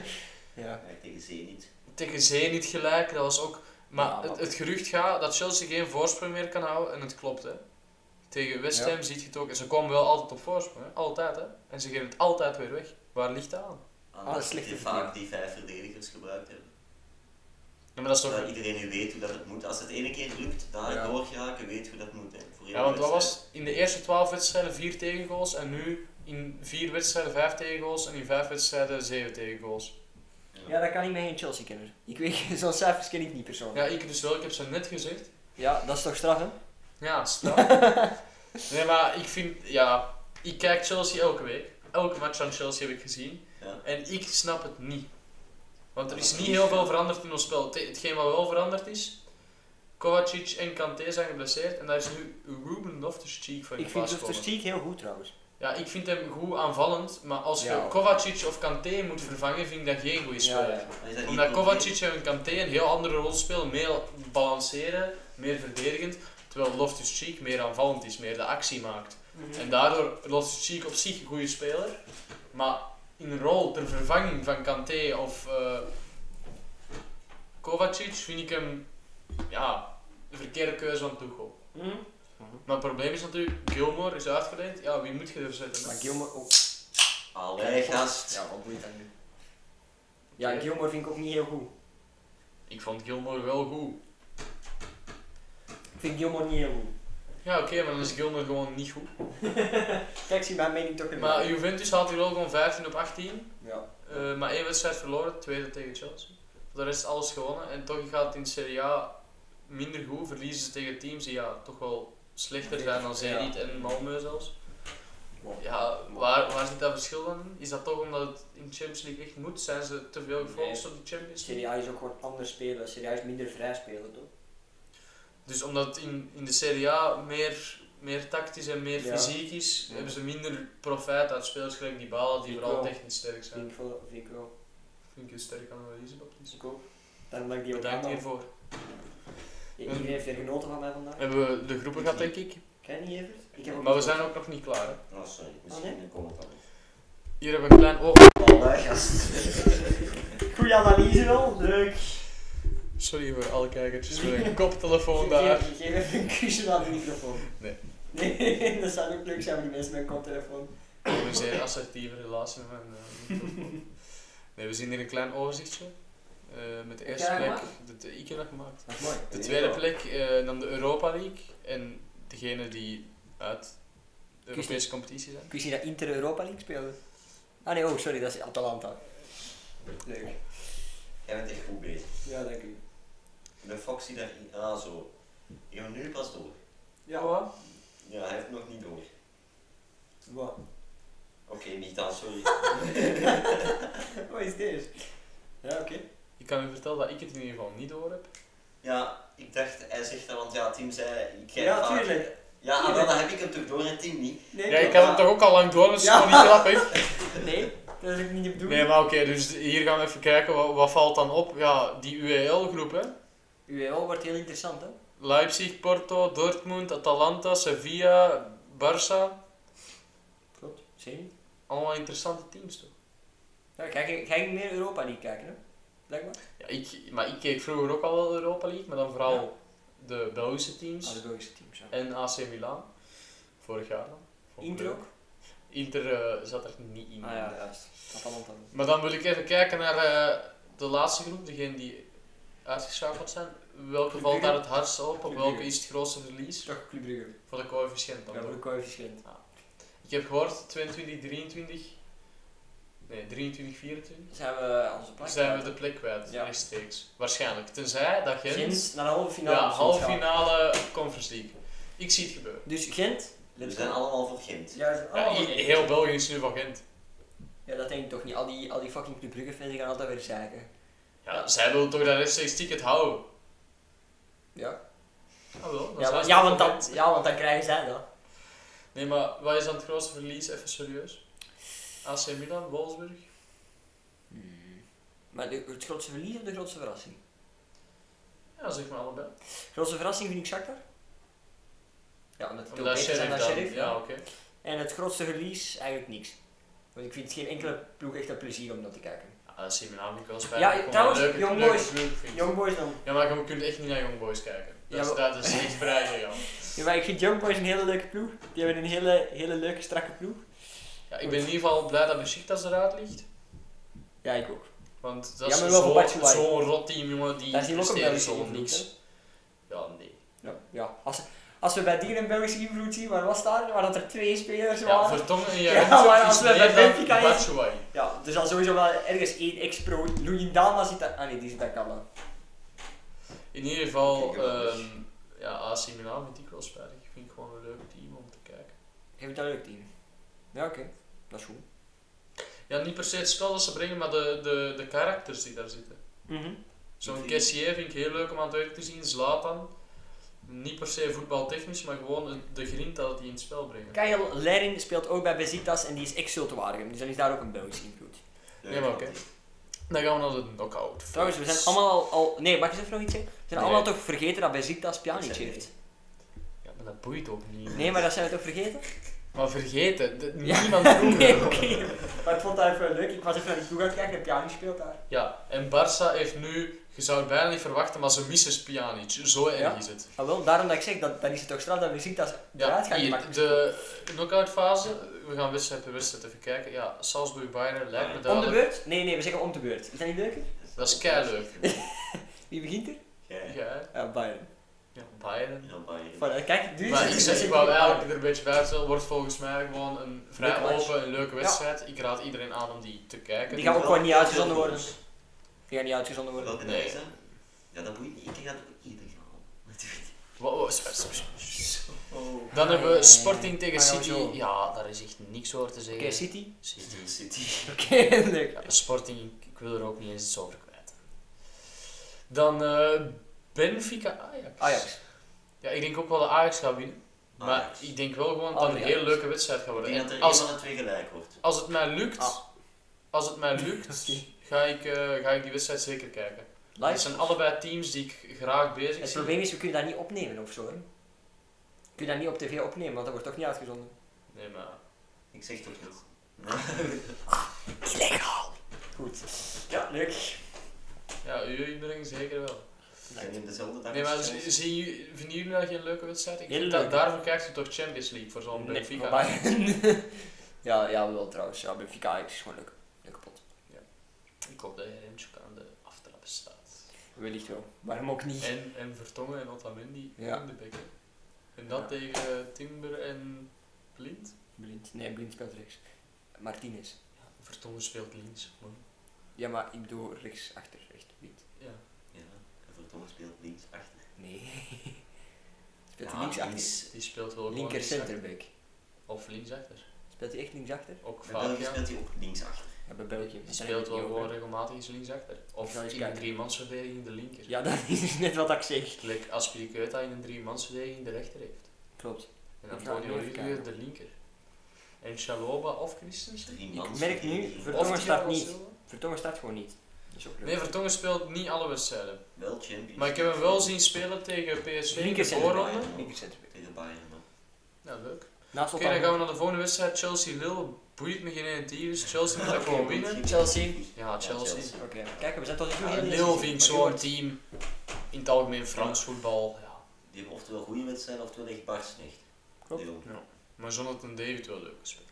Ja, tegen Zenit.
tegen Zenit gelijk, dat was ook... Maar
Ja, maar-
Het, het gerucht gaat dat Chelsea geen voorsprong meer kan houden, en het klopt, hè. Tegen West Ham ziet je het ook. En ze komen wel altijd op voorsprong, hè. Altijd, hè. En ze geven het altijd weer weg. Waar ligt dat aan?
Aan
Ah,
dat
slechte
die
verdediging.
vaak die vijf verdedigers gebruikt hebben.
Ja, maar dat is toch...
Zodat iedereen nu weet hoe dat het moet. Als het ene keer lukt, daar
Ja.
doorgeraken, weet hoe dat moet. Hè. Voor
Ja,
heel
want wat was
wedstrijd.
het? in de eerste 12 wedstrijden 4 tegengoals en nu in 4 wedstrijden 5 tegengoals en in 5 wedstrijden 7 tegengoals.
ja, dat kan ik met geen Chelsea-kenner. Ik weet, zo'n cijfers ken ik niet persoonlijk.
Ja, ik dus wel. Ik heb ze net gezegd.
Ja, dat is toch straf, hè?
Ja, straf. nee, maar ik vind... Ja, ik kijk Chelsea elke week. Elke match van Chelsea heb ik gezien.
Ja.
En ik snap het niet. Want er
Dat
is
is
niet
niet
heel veel
veel.
veranderd in ons spel. Het- Hetgeen wat wel veranderd is, Kovacic en Kanté zijn geblesseerd en daar is nu Ruben Loftus-Cheek van
Ik vind
geplaatst
Loftus
gekomen.
Cheek heel goed trouwens.
Ja, ik vind hem goed aanvallend, maar als je
Ja, hoor.
Kovacic of Kanté moet vervangen, vind ik dat geen goede speler.
Dan is dat niet
Omdat
het probleem.
Kovacic en Kanté een heel andere rol spelen, meer balanceren, meer verdedigend, terwijl Loftus-Cheek meer aanvallend is, meer de actie maakt. En daardoor lost Chic op zich een goede speler. Maar in een rol ter vervanging van Kanté of eh, Kovacic vind ik hem ja, een verkeerde keuze van Tuchel.
Mhm.
Maar het probleem is natuurlijk, Gilmore is uitgeleend. Ja, wie moet je er zetten?
Maar oh. Gilmore ook.
Allee, gast.
Ja, wat moet je dan nu? Ja, Gilmore vind ik ook niet heel goed.
Ik vond Gilmore wel goed.
Ik vind Gilmore niet heel goed.
Ja, oké, maar dan is Gilmore gewoon niet goed.
Kijk, zie mijn mening toch in.
Maar Juventus haalt hier wel gewoon 15 op 18.
Ja.
eh, maar één wedstrijd verloren, tweede tegen Chelsea. Voor de rest alles gewonnen. En toch gaat het in Serie A minder goed. Verliezen ze tegen teams die ja, toch wel slechter zijn dan Zenit en Malmö zelfs. Ja, waar, waar zit dat verschil dan in? Is dat toch omdat het in de Champions League echt moet? Zijn ze te veel gefocust op de Champions League?
Serie A is ook gewoon anders spelen. Serie A is minder vrij spelen, toch?
Dus omdat het in, in de Serie A meer, meer tactisch en meer
Ja.
fysiek is,
Ja.
hebben ze minder profijt uit spelers gelijk die balen die
Ik
vooral
wel.
technisch sterk zijn.
Vind ik wel. Vind ik wel.
Vind ik een sterke analyse, Baptiste.
Ik ook. Dan ben ik die ook
Bedankt
aan.
hiervoor.
Iedereen heeft weer genoten van mij vandaag.
Hebben we de groepen gehad, denk ik?
Ken je niet even? Ik heb ook
Maar we
niet-
zijn ook nog niet klaar. Hè?
Oh, sorry.
Ah,
Misschien een commentaar.
Hier hebben we een klein... Oh,
Allee, gast.
Goeie analyse wel, leuk.
sorry voor alle kijkertjes. Voor een koptelefoon daar.
Geef, geef even een kusje aan de microfoon.
Nee.
Nee, dat zou ook leuk zijn voor die mensen met een koptelefoon.
Ik heb een zeer Oh, assertieve relatie met mijn eh, microfoon. Nee, we zien hier een klein overzichtje. Eh, met de
Heb
eerste
jij dat
plek, de, de, ik heb dat gemaakt.
Dat is mooi.
De tweede plek, eh, dan de Europa League. En degene die uit de Europese competitie zijn.
Kun je zien dat Inter Europa League speelde? Ah nee, oh sorry, dat is Atalanta. Leuk.
Jij bent echt goed bezig.
Ja, dank u.
De Foxy daarin. Ah, zo. Die gaan nu pas door.
wat?
Ja, hij heeft het nog niet door.
Wat?
Oké, niet aan, sorry.
Wat is dit? Ja, oké.
Ik kan u vertellen dat ik het in ieder geval niet door heb.
Ja, ik dacht, hij zegt dat, want ja, Tim zei, ik krijg
Ja,
vaak-
tuurlijk.
Ja, maar
Tuurlijk.
dan heb ik hem toch door en Tim niet.
Nee,
Ja, ik had het toch ook al lang door, dus het is
Ja.
gewoon niet grappig.
nee, dat is ook niet de bedoeling.
Nee, maar oké, dus hier gaan we even kijken, wat, wat valt dan op? Ja, die UEL-groep, hè.
UEL wordt heel interessant hè.
Leipzig, Porto, Dortmund, Atalanta, Sevilla, Barça.
Klopt. Zeker.
Allemaal interessante teams, toch?
Ja, ga, je, ga je meer Europa League kijken hè? Blijkbaar.
Ja, ik, maar ik keek vroeger ook al wel Europa League, maar dan vooral Eh,
Ja. Ah,
de Belgische teams
de Belgische teams, ja.
en AC Milan. Vorig jaar dan. Vond ik
Inter
leuk.
ook?
Inter eh, zat er niet in.
Ah ja, juist. Atalanta.
Maar dan wil ik even kijken naar eh, de laatste groep, degene die uitgeschakeld zijn. Welke
Club
valt
Brugge?
daar het hardst op? Op
Club
welke
Brugge.
is het grootste verlies?
Toch Club Brugge.
Voor de coëfficiënt
Ja,
dan.
voor
toch?
de coëfficiënt.
Ik heb gehoord 22, 23. Nee, 23, 24.
Zijn we onze plek?
zijn we de plek kwijt,
Ja.
rechtstreeks. Waarschijnlijk. Tenzij dat Gent,
Gent naar de halve finale.
ja,
misschien
halve
gaat.
finale Conference League. Ik zie het gebeuren.
Dus Gent.
We zijn allemaal voor Gent.
Ja, we zijn
Ja,
allemaal
i-
Gent.
heel België is nu van Gent.
Ja, dat denk ik toch niet. Al die, al die fucking Club Brugge fans die gaan altijd weer zeiken.
Ja, zij willen toch dat rechtstreeks ticket houden.
Ja.
Ah, wel, dan
Ja,
zijn
want,
ze
ja,
toch
want
van
dat,
Gent.
ja, want dan krijgen zij dat.
Nee, maar wat is dan het grootste verlies? Even serieus. AC Milan, Wolfsburg.
Hmm. Maar de, het grootste verlies of de grootste verrassing?
Ja, zeg maar allebei.
grootste verrassing vind ik Shakhtar. Ja, omdat het ook
Omdat
beter zijn dan
Sheriff dan.
Sheriff.
ja,
ja.
oké.
En het grootste verlies eigenlijk niks. Want ik vind geen enkele ploeg echt een plezier om dat te kijken.
Ja, AC Milan vind ik wel spijtig. Ik
Ja,
vond het
trouwens,
een leuke-
Young
leuke
Boys.
groep, vind ik.
Youngboys dan.
Ja, maar je kunt echt niet naar Young Boys kijken. Dat, is,
Ja,
dat is echt vrij gegaan.
Ja, maar ik vind Youngboys een hele leuke ploeg. Die hebben een hele, hele leuke, strakke ploeg.
Ja, ik ben in ieder geval blij dat Besiktas eruit ligt.
Ja, ik ook.
Want
Ja,
dat
maar
is
wel voor
zo- zo'n
Batshuayi.
rot team, jongen, die
Daar is hier ook een
presteren
Belgische
zo
invloed,
niks.
hè?
Ja, nee.
Ja. ja. Als, als we bij die een Belgische invloed zien, waar was daar? Waar dat er twee spelers
Ja,
waren.
Vertongen en
Ja,
Jarentzoek
maar als
is
we bij
meer dan
Benfica is-
Batshuayi.
Ja, er zal sowieso wel ergens één ex-pro. Louis Dama zit daar. Ah nee, die zit bij Cabla.
In ieder geval,
Kijk, wel eens.
ehm, ja, AC Milan vind ik wel spijtig. Ik vind het gewoon een leuk team om te kijken.
Geef het een leuk team. Ja, oké. Dat is goed.
Ja, niet per se het spel dat ze brengen, maar de, de, de karakters die daar zitten.
Mhm.
Zo'n
vind-
Kessier vind ik heel leuk om aan het werk te zien. Zlatan. Niet per se voetbaltechnisch, maar gewoon de grind dat het die in het spel brengen.
Kyle Lerin speelt ook bij Besiktas en die is exultwaardig. Dus dan is daar ook een Belgisch invloed.
Nee, maar oké. Dan gaan we naar de knockout.
Trouwens, we zijn allemaal al... al- nee, mag ik eens even nog iets zeggen? We zijn
Nee.
allemaal toch vergeten dat Besiktas
Ik
Pjanic
zei
heeft.
Ja, maar dat boeit ook niet.
Nee, maar dat zijn we toch vergeten?
Maar vergeten, de-
Ja.
niemand vroeg
Nee,
het.
oké. Maar ik vond dat even leuk. Ik was even naar die ploeg aan het kijken en Pjanic speelt daar.
Ja, en Barça heeft nu, je zou het bijna niet verwachten, maar ze missen Pjanic. Zo erg
Ja.
is het.
Maar Ah, wel, daarom dat ik zeg, dat, dan is het toch straf dat Besiktas
Ja,
eruit gaat
hier,
maken.
de knockoutfase, we gaan wedstrijd per wedstrijd even kijken. Ja, Salzburg-Bayern lijkt me
Om de
duidelijk.
beurt? Nee, nee, we zeggen om de beurt. Is dat niet leuker?
Dat is keileuk.
Wie begint er?
Jij.
Ja,
Ja, Bayern.
ja, Bayern.
En dan Bayern.
Voilà, kijk, dus...
Maar ik, zeg, ik
zit
wou
hier.
eigenlijk er een beetje bij vertellen, wordt volgens mij gewoon een vrij
Leuke match.
open en leuke
Ja.
wedstrijd. Ik raad iedereen aan om die te kijken.
Die gaan we ook
Wel
gewoon niet
veel
uitgezonden worden.
goals.
Die gaan niet uitgezonden worden.
Welke
Nee.
nee. hè? Ja, dat boeit niet. Ik ga het ook ieder gaan. Natuurlijk.
Wa- wa- s- s- s-
Oh.
Dan hebben
Ah, ja,
we
ja,
Sporting
ja.
tegen
Ah, ja,
City.
zo.
Ja, daar is echt niks over te
Oké,
zeggen.
City.
City.
City.
Oké, leuk.
Ja, Sporting, ik- ik wil er ook niet eens iets over kwijt. Dan eh, Benfica Ajax.
Ajax.
Ja, ik denk ook wel dat Ajax gaat winnen. Maar
Ajax.
ik denk wel gewoon dat het een
Oh, Ajax.
heel leuke wedstrijd gaat
Ik
worden.
denk dat
En
er
als,
één van de twee gelijk wordt.
als het mij lukt,
Ah.
als het mij lukt
Oké.
ga, ik, eh, ga ik die wedstrijd zeker kijken. Het
Live.
zijn allebei teams die ik graag bezig
Het
zie.
probleem is, we kunnen dat niet opnemen of zo. Hè. We kunnen dat niet op tv opnemen, want dat wordt toch niet uitgezonden.
Nee, maar...
Ik zeg toch niet.
Illegaal. Goed. Ja, leuk.
Ja, jullie brengen zeker wel.
Ik neem dezelfde dag
Nee, maar
als
z-
Chelsea.
zien jullie- vinden jullie dat geen leuke wedstrijd? Ik
Heel
vind dat-
leuk.
daarvoor krijg je toch Champions League voor zo'n
Nee,
Benfica.
maar- ja, ja, wel trouwens. Ja, Benfica Ajax is gewoon leuk. Leuke pot.
Ik hoop dat Remchuk aan de aftrap staat.
Wellicht wel. Waarom ook niet?
En, en Vertongen en Otamendi
Ja.
in de bekken. En dat
Ja.
tegen Timber en Blind.
Blind. Nee, Blind speelt rechts. Martinez.
Vertongen speelt links, man.
Ja, maar ik doe rechts achter. Echt Blind.
Ja.
Ja, en Vertongen speelt links achter.
Nee. Speelt
Ja,
hij links achter?
links.
Die speelt wel gewoon
Linker
linksachter.
centerback.
Of linksachter.
Speelt hij echt links achter?
Ook
Bij
vaak,
België
ja.
speelt hij ook links achter.
Ja, bij België.
Die speelt wel gewoon regelmatig eens linksachter. Of
zal eens
in een
kijken.
driemansverdediging de linker.
Ja, dat is dus net wat ik zeg.
Like Aspiricueta in een driemansverdediging de rechter heeft.
Klopt.
En
Ik ga
Antonio
even
Rudiger
kijken.
de linker. En Chaloba of Christensen?
Drie
Ik
mans
merk nu,
verdediging.
Vertongen
Of
staat
Thiago
niet.
Silva?
Vertongen staat gewoon niet. Dat is ook leuk.
Nee, Vertongen speelt niet alle wedstrijden.
Wel Champions
Maar ik heb hem wel zien spelen tegen PSV in de
Linkercentrum.
voorronde.
voorronde.
Linkercentrum.
Tegen Bayern. hè.
Nou, leuk. Oké,
Naast
dan gaan
elkaar.
we naar de volgende wedstrijd. Chelsea-Lille. Boeit me geen ene tyfus. Chelsea moet dat
Oké,
gewoon
goed.
winnen.
Chelsea.
Ja, Chelsea.
Chelsea.
Oké, kijk, we zijn tot nu toe
Ja,
heel
Lille vind ik zo'n
Maar
team. In het algemeen Frans voetbal. Ja.
Die hebben oftewel goede wedstrijden, oftewel echt bars slecht.
Klopt.
Deel.
Maar Jonathan David wel leuk gespeeld.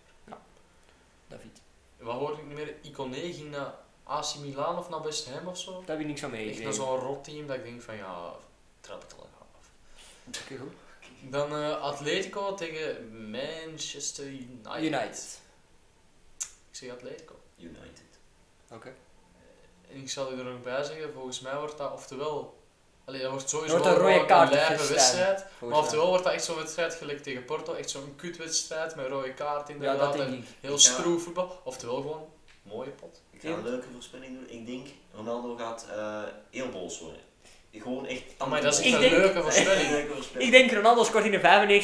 David.
Wat hoorde ik niet meer? Iconé ging naar AC Milan of naar West Ham of zo.
Daar heb ik niks van
Echt naar
meegekregen.
zo'n rotteam dat ik denk van ja, trap ik al af.
Oké, goed.
Dan eh, Atletico tegen Manchester United.
United.
Ik zeg Atletico.
United.
Oké.
En ik zal u er nog bij zeggen, volgens mij wordt dat oftewel... Allee, dat wordt sowieso
Wordt een
gewoon
rode kaart
lijpe
gestaan.
wedstrijd. Maar
Volgens mij.
oftewel wordt dat echt zo'n wedstrijd gelijk tegen Porto. Echt zo'n kutwedstrijd met rode kaart
Ja, dat
inderdaad.
denk
en
ik.
heel
Ja.
stroef voetbal. Oftewel gewoon een mooie pot.
Ik ga een leuke voorspelling doen. Ik denk, Ronaldo gaat eh heel boos worden. Gewoon echt...
Oh, Maar dat is echt
Ik
een
denk-
leuke
Een
voorspelling.
leuke voorspelling.
Ik denk Ronaldo scoort in de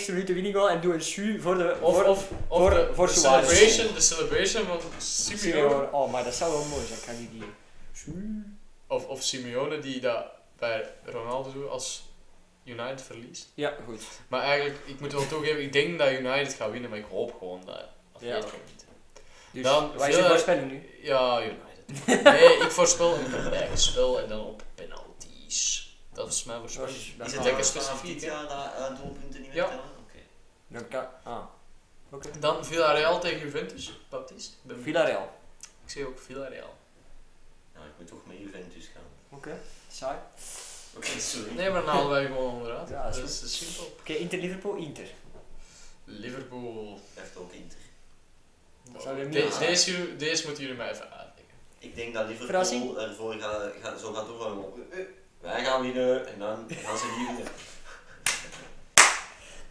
95e minuut de winning goal en doet een su voor de...
Of,
voor-
of, of
voor-
de,
voor
de
Suarez.
celebration, de celebration van Simeone.
Simeone. Oh, maar dat zou wel mooi zijn. Ik ga die die... Su.
Of, of Simeone die dat bij Ronaldo doet als United verliest.
Ja, goed.
Maar eigenlijk, ik moet wel toegeven, ik denk dat United gaat winnen, maar ik hoop gewoon dat Atletico wint.
Dus,
Dan-
wat is de
Ja.
voorspelling nu?
Ja, United. Nee, ik voorspel een gelijkspel en dan op penalties. Dat is mijn voorspelling.
Dan
Is
het
het
gaan we-
lekker
lekker
specifiek,
specifiek? Ja, dat eh, doelpunten niet meer
Ja.
tellen. Oké.
Dan kan... Ah. Oké.
Dan Villarreal tegen Juventus, Baptiste. Ik ben-
Villarreal.
Ik zeg ook Villarreal.
Nou, ik moet toch met Juventus gaan.
Oké. Saai.
Oké, sorry.
Nee, maar dan halen wij gewoon onderuit.
Ja,
dat is
is
eh, simpel.
Oké, Inter-Liverpool, Inter.
Liverpool.
Heeft ook Inter.
Dat zou weer
De-
meer zijn.
deze, deze moeten jullie mij even uitleggen.
Ik denk dat Liverpool
Verrassing?
ervoor gaat, gaat, zo gaat doen van... eh, eh, Wij gaan winnen en dan gaan ze niet winnen.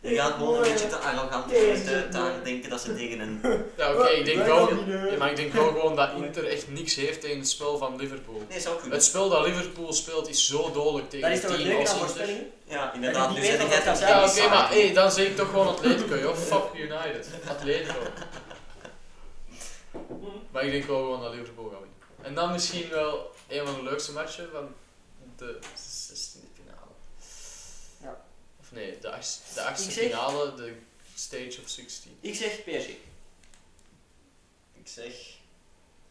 Je gaat gewoon een beetje te arrogant
Deze
te, te,
man.
denken dat ze tegen een
Ja, oké, ik denk wel... Ja, maar ik denk wel gewoon dat Inter echt niks heeft tegen het spel van Liverpool.
Nee, zou kunnen.
Het spel dat Liverpool speelt is zo dodelijk tegen
Dat is toch
een
een
team
leuke
als
aan
Inter.
voorspellingen?
Ja, inderdaad.
Die
Nu
weet
zet ik
dat
het
dat
op
kan
Ja,
die
oké,
side.
maar hey, dan zeg ik toch gewoon Atletico, joh. Fuck United. Atletico. Maar ik denk wel gewoon dat Liverpool gaat winnen. En dan misschien wel een van de leukste matchen van de 16e finale.
Ja.
Of nee, de 8e de achtste
Ik zeg-
finale, de stage of 16.
Ik zeg PSG.
Ik zeg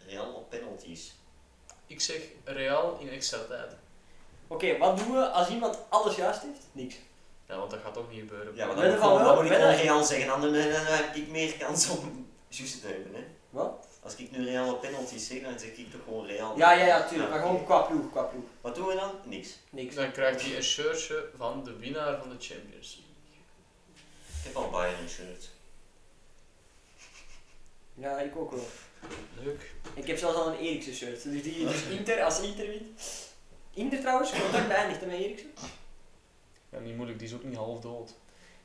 Real op penalties.
Ik zeg Real in extra tijd.
Oké, wat doen we als iemand alles juist heeft? Niks.
Ja, want dat gaat toch niet gebeuren.
Ja, maar
Wedden
dan,
van
dan,
wel,
moet ik gewoon
wedden.
Real zeggen, anders eh, dan heb ik meer kans om juist te hebben. Hè.
Wat?
Als ik nu Real op penalties zeg, dan zeg ik toch gewoon Real.
Ja, ja, ja, tuurlijk. Maar
oké.
gewoon qua ploeg, qua ploeg.
Wat doen we dan? Niks.
Niks.
Dan krijgt hij een shirtje van de winnaar van de Champions League.
Ik heb al Bayern een shirt.
Ja, ik ook wel.
Leuk.
Ik heb zelfs al een Eriksen shirt. Dus die dus Inter, als Inter wint. Inter trouwens, contact beëindigd hè, met Eriksen.
Ja, niet moeilijk, die is ook niet half dood.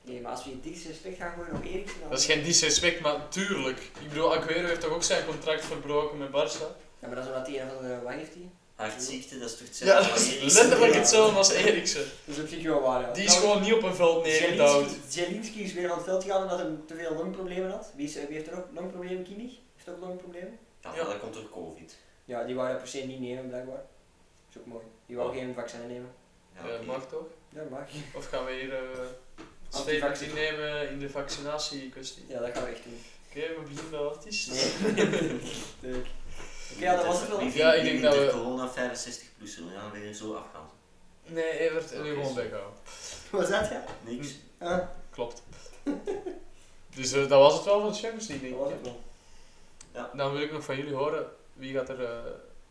Nee, maar als we in disrespect gaan gooien op Eriksen dan...
Dat is geen disrespect, maar tuurlijk. Ik bedoel, Aguero heeft toch ook zijn contract verbroken met Barça?
Ja, maar dat is omdat hij een van de... Wat heeft hij?
Hartziekte, dat is toch hetzelfde
Ja,
wat
dat is
Eriksen
letterlijk
doet?
hetzelfde als Eriksen.
Dat is Dus op zich wel waar, ja.
Die is
Nou,
gewoon niet op een veld neergedouwd.
Zielinski- Zielinski is weer van het veld gegaan omdat hij te veel longproblemen had. Wie, is, wie heeft er ook longproblemen? Kimmich heeft ook longproblemen.
Ja,
Ja.
maar dat komt door covid.
Ja, die wou dat per se niet nemen, blijkbaar. is ook mooi. Die wou
Oh.
geen vaccin nemen.
Ja,
Ja,
oké.
mag toch?
Ja, mag.
Of gaan we hier eh statement
Antivaxxer.
innemen in de vaccinatiekwestie?
Ja, dat gaan we echt doen.
Oké, we beginnen bij wat is.
Leuk. Oké, ja, dat was het wel.
Wie vindt-
Ja, ik
wie
denk dat
vindt er
we-
corona 65 plus zullen we gaan weer zo afgaan.
Nee, Evert, en
Oké,
nu gewoon
zo.
weghouden.
Wat zat je?
Niks.
Ah,
Klopt. dus eh, dat was het wel van de Champions League,
dat
denk
was
ik.
het wel.
Dan wil ik nog van jullie horen, wie gaat er eh,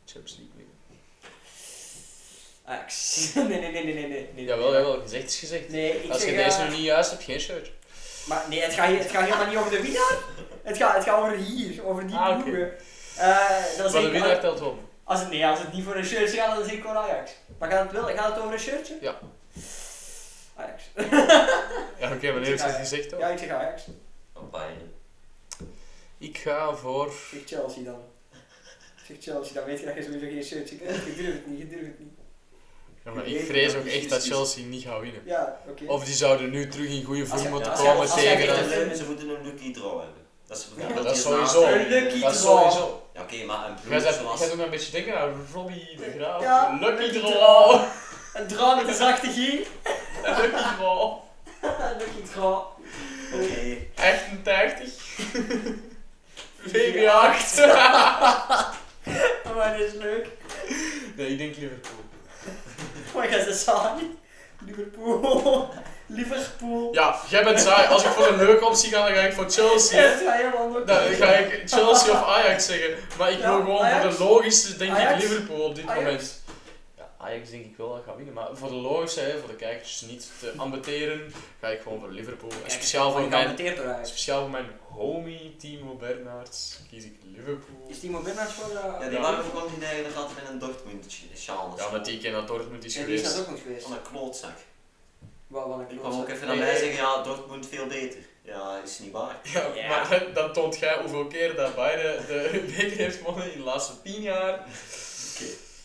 Champions League winnen?
Ajax. nee, nee, nee, nee, nee, nee, nee.
Jawel, jawel, gezegd is gezegd.
Nee, ik
Als je
zeg...
deze
eh,
nog niet juist hebt, geen shirt.
Maar nee, het gaat, hier- het gaat helemaal niet over de winnaar. Het gaat, het gaat over hier, over die
Ah, oké.
ploegen. Eh, dan
Maar
zeg
de
ik-
winnaar telt wel.
Als het, nee, als het niet voor een shirtje gaat, dan zeg ik gewoon Ajax. Maar gaat het, wel, gaat het over een shirtje?
Ja.
Ajax.
Ja, oké, maar heeft het gezegd toch?
Ja, ik zeg Ajax.
Van Bayern.
Ik ga voor.
Ik zeg Chelsea dan. Ik zeg Chelsea, dan weet je dat je sowieso geen shirtje krijgt. Je durft het niet, je durft het niet.
Ja, maar ik vrees ook echt dat Chelsea niet gaat winnen.
Ja, oké.
Of die zouden nu terug in goede vorm
Als je-
moeten
als je-
komen
als je-
tegen.
als je-
een-
Ze moeten een lucky draw hebben. Dat is
Ja,
bijvoorbeeld
dat is
die laatste-
sowieso.
Een lucky
Dat is
draw.
sowieso.
Ja, oké, maar een
Jij
ploeg
zegt- jij
zoals...
doet me een beetje denken aan Robbie de Graaf.
Ja,
lucky
lucky
draw!
Een draw met een zachte G.
lucky draw!
Lucky draw.
Oké,
88. VB8.
Maar dat is leuk.
Nee, ik denk Liverpool.
Maar ga ze saai. Liverpool. Liverpool.
Ja, jij bent saai. Als ik voor een leuke optie ga, dan ga ik voor Chelsea.
Het gaat helemaal leuk.
Dan ga Nou, ik Chelsea of Ajax zeggen. Maar ik
Ja,
wil gewoon voor
Ajax.
de logische, denk ik,
Ajax.
Liverpool op dit
Ajax.
moment. Ja, Ajax denk ik wel dat gaat winnen. Maar voor de logische, hè, voor de kijkers niet te ambeteren, ga ik gewoon voor Liverpool. En speciaal, voor mijn,
geamputeerd door Ajax.
speciaal voor mijn homie Timo Bernards kies ik Liverpool.
Is Timo Bernards voor... eh,
ja, die waren ook niet eigenlijk altijd met een Dortmund-sjaal.
Ja, maar die keer naar Dortmund is
Ja, die is
geweest.
dat ook nog geweest.
Van een klootzak.
Wat, wat een
Die Oh, kwam
klootzak.
ook even naar
Nee,
mij
nee.
zeggen, ja, Dortmund veel beter. Ja, is niet waar.
Ja,
Ja.
maar dan toont jij hoeveel keer dat Bayern de beker heeft gewonnen in de laatste tien jaar.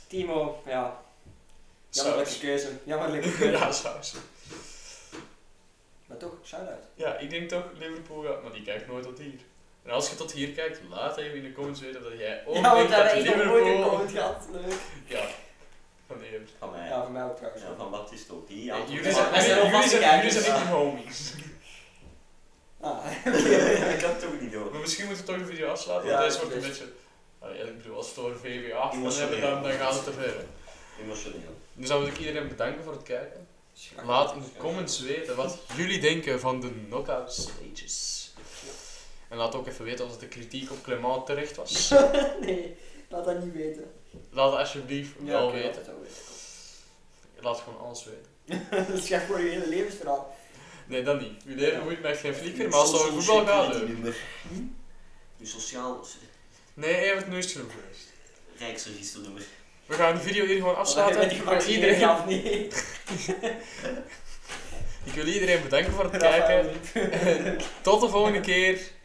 Timo, ja. Jammerlijke
Saus.
keuze. Jammerlijke keuze.
Ja, saus.
Maar toch, shout-out.
Ja, ik denk toch Liverpool gaat, maar die kijkt nooit tot hier. En als je tot hier kijkt, laat even in de comments weten dat jij ook
ja, want
denkt
daar
dat
heb ik nog nooit een
Oh, Liverpool...
comment gehad. Leuk.
Ja, Oh, van Evert.
Van mij.
Ja, voor mij ook trouwens.
Ja, van Baptiste ook. Die
Hey,
antwoord-
jullie
zijn- wij zijn
jullie-
alvast
jullie
kijkers,
jullie zijn
ja.
niet homies.
Ah,
Ik kan het toch niet doen.
Maar misschien moeten we toch de video afsluiten,
Ja,
want deze wordt een
best.
beetje... Allee, ik bedoel, als we het over VWA gaan
Emotioneel.
hebben, dan, dan gaat het te ver. hè.
Emotioneel.
Dus dan wil ik iedereen bedanken voor het kijken. Laat in de comments weten wat jullie denken van de knockout stages. En laat ook even weten of de kritiek op Clement terecht was.
nee, laat dat niet weten.
Laat het alsjeblieft wel
oké, laat
weten.
het wel weten.
Laat gewoon alles weten.
Dat is echt voor je hele levensverhaal.
Nee, dat niet. Uw leven moet mij geen flikker,
Uw
maar als het over
social
voetbal gaat,
security
leuk.
nummer. Hm? Uw sociaal
Nee, Evert, nu is het genoeg geweest.
rijksregisternummer.
We gaan de video hier gewoon
Laat
afsluiten.
je
Ik
met
wil
die
iedereen,
of niet.
ik wil iedereen bedanken voor het kijken. Tot de volgende keer.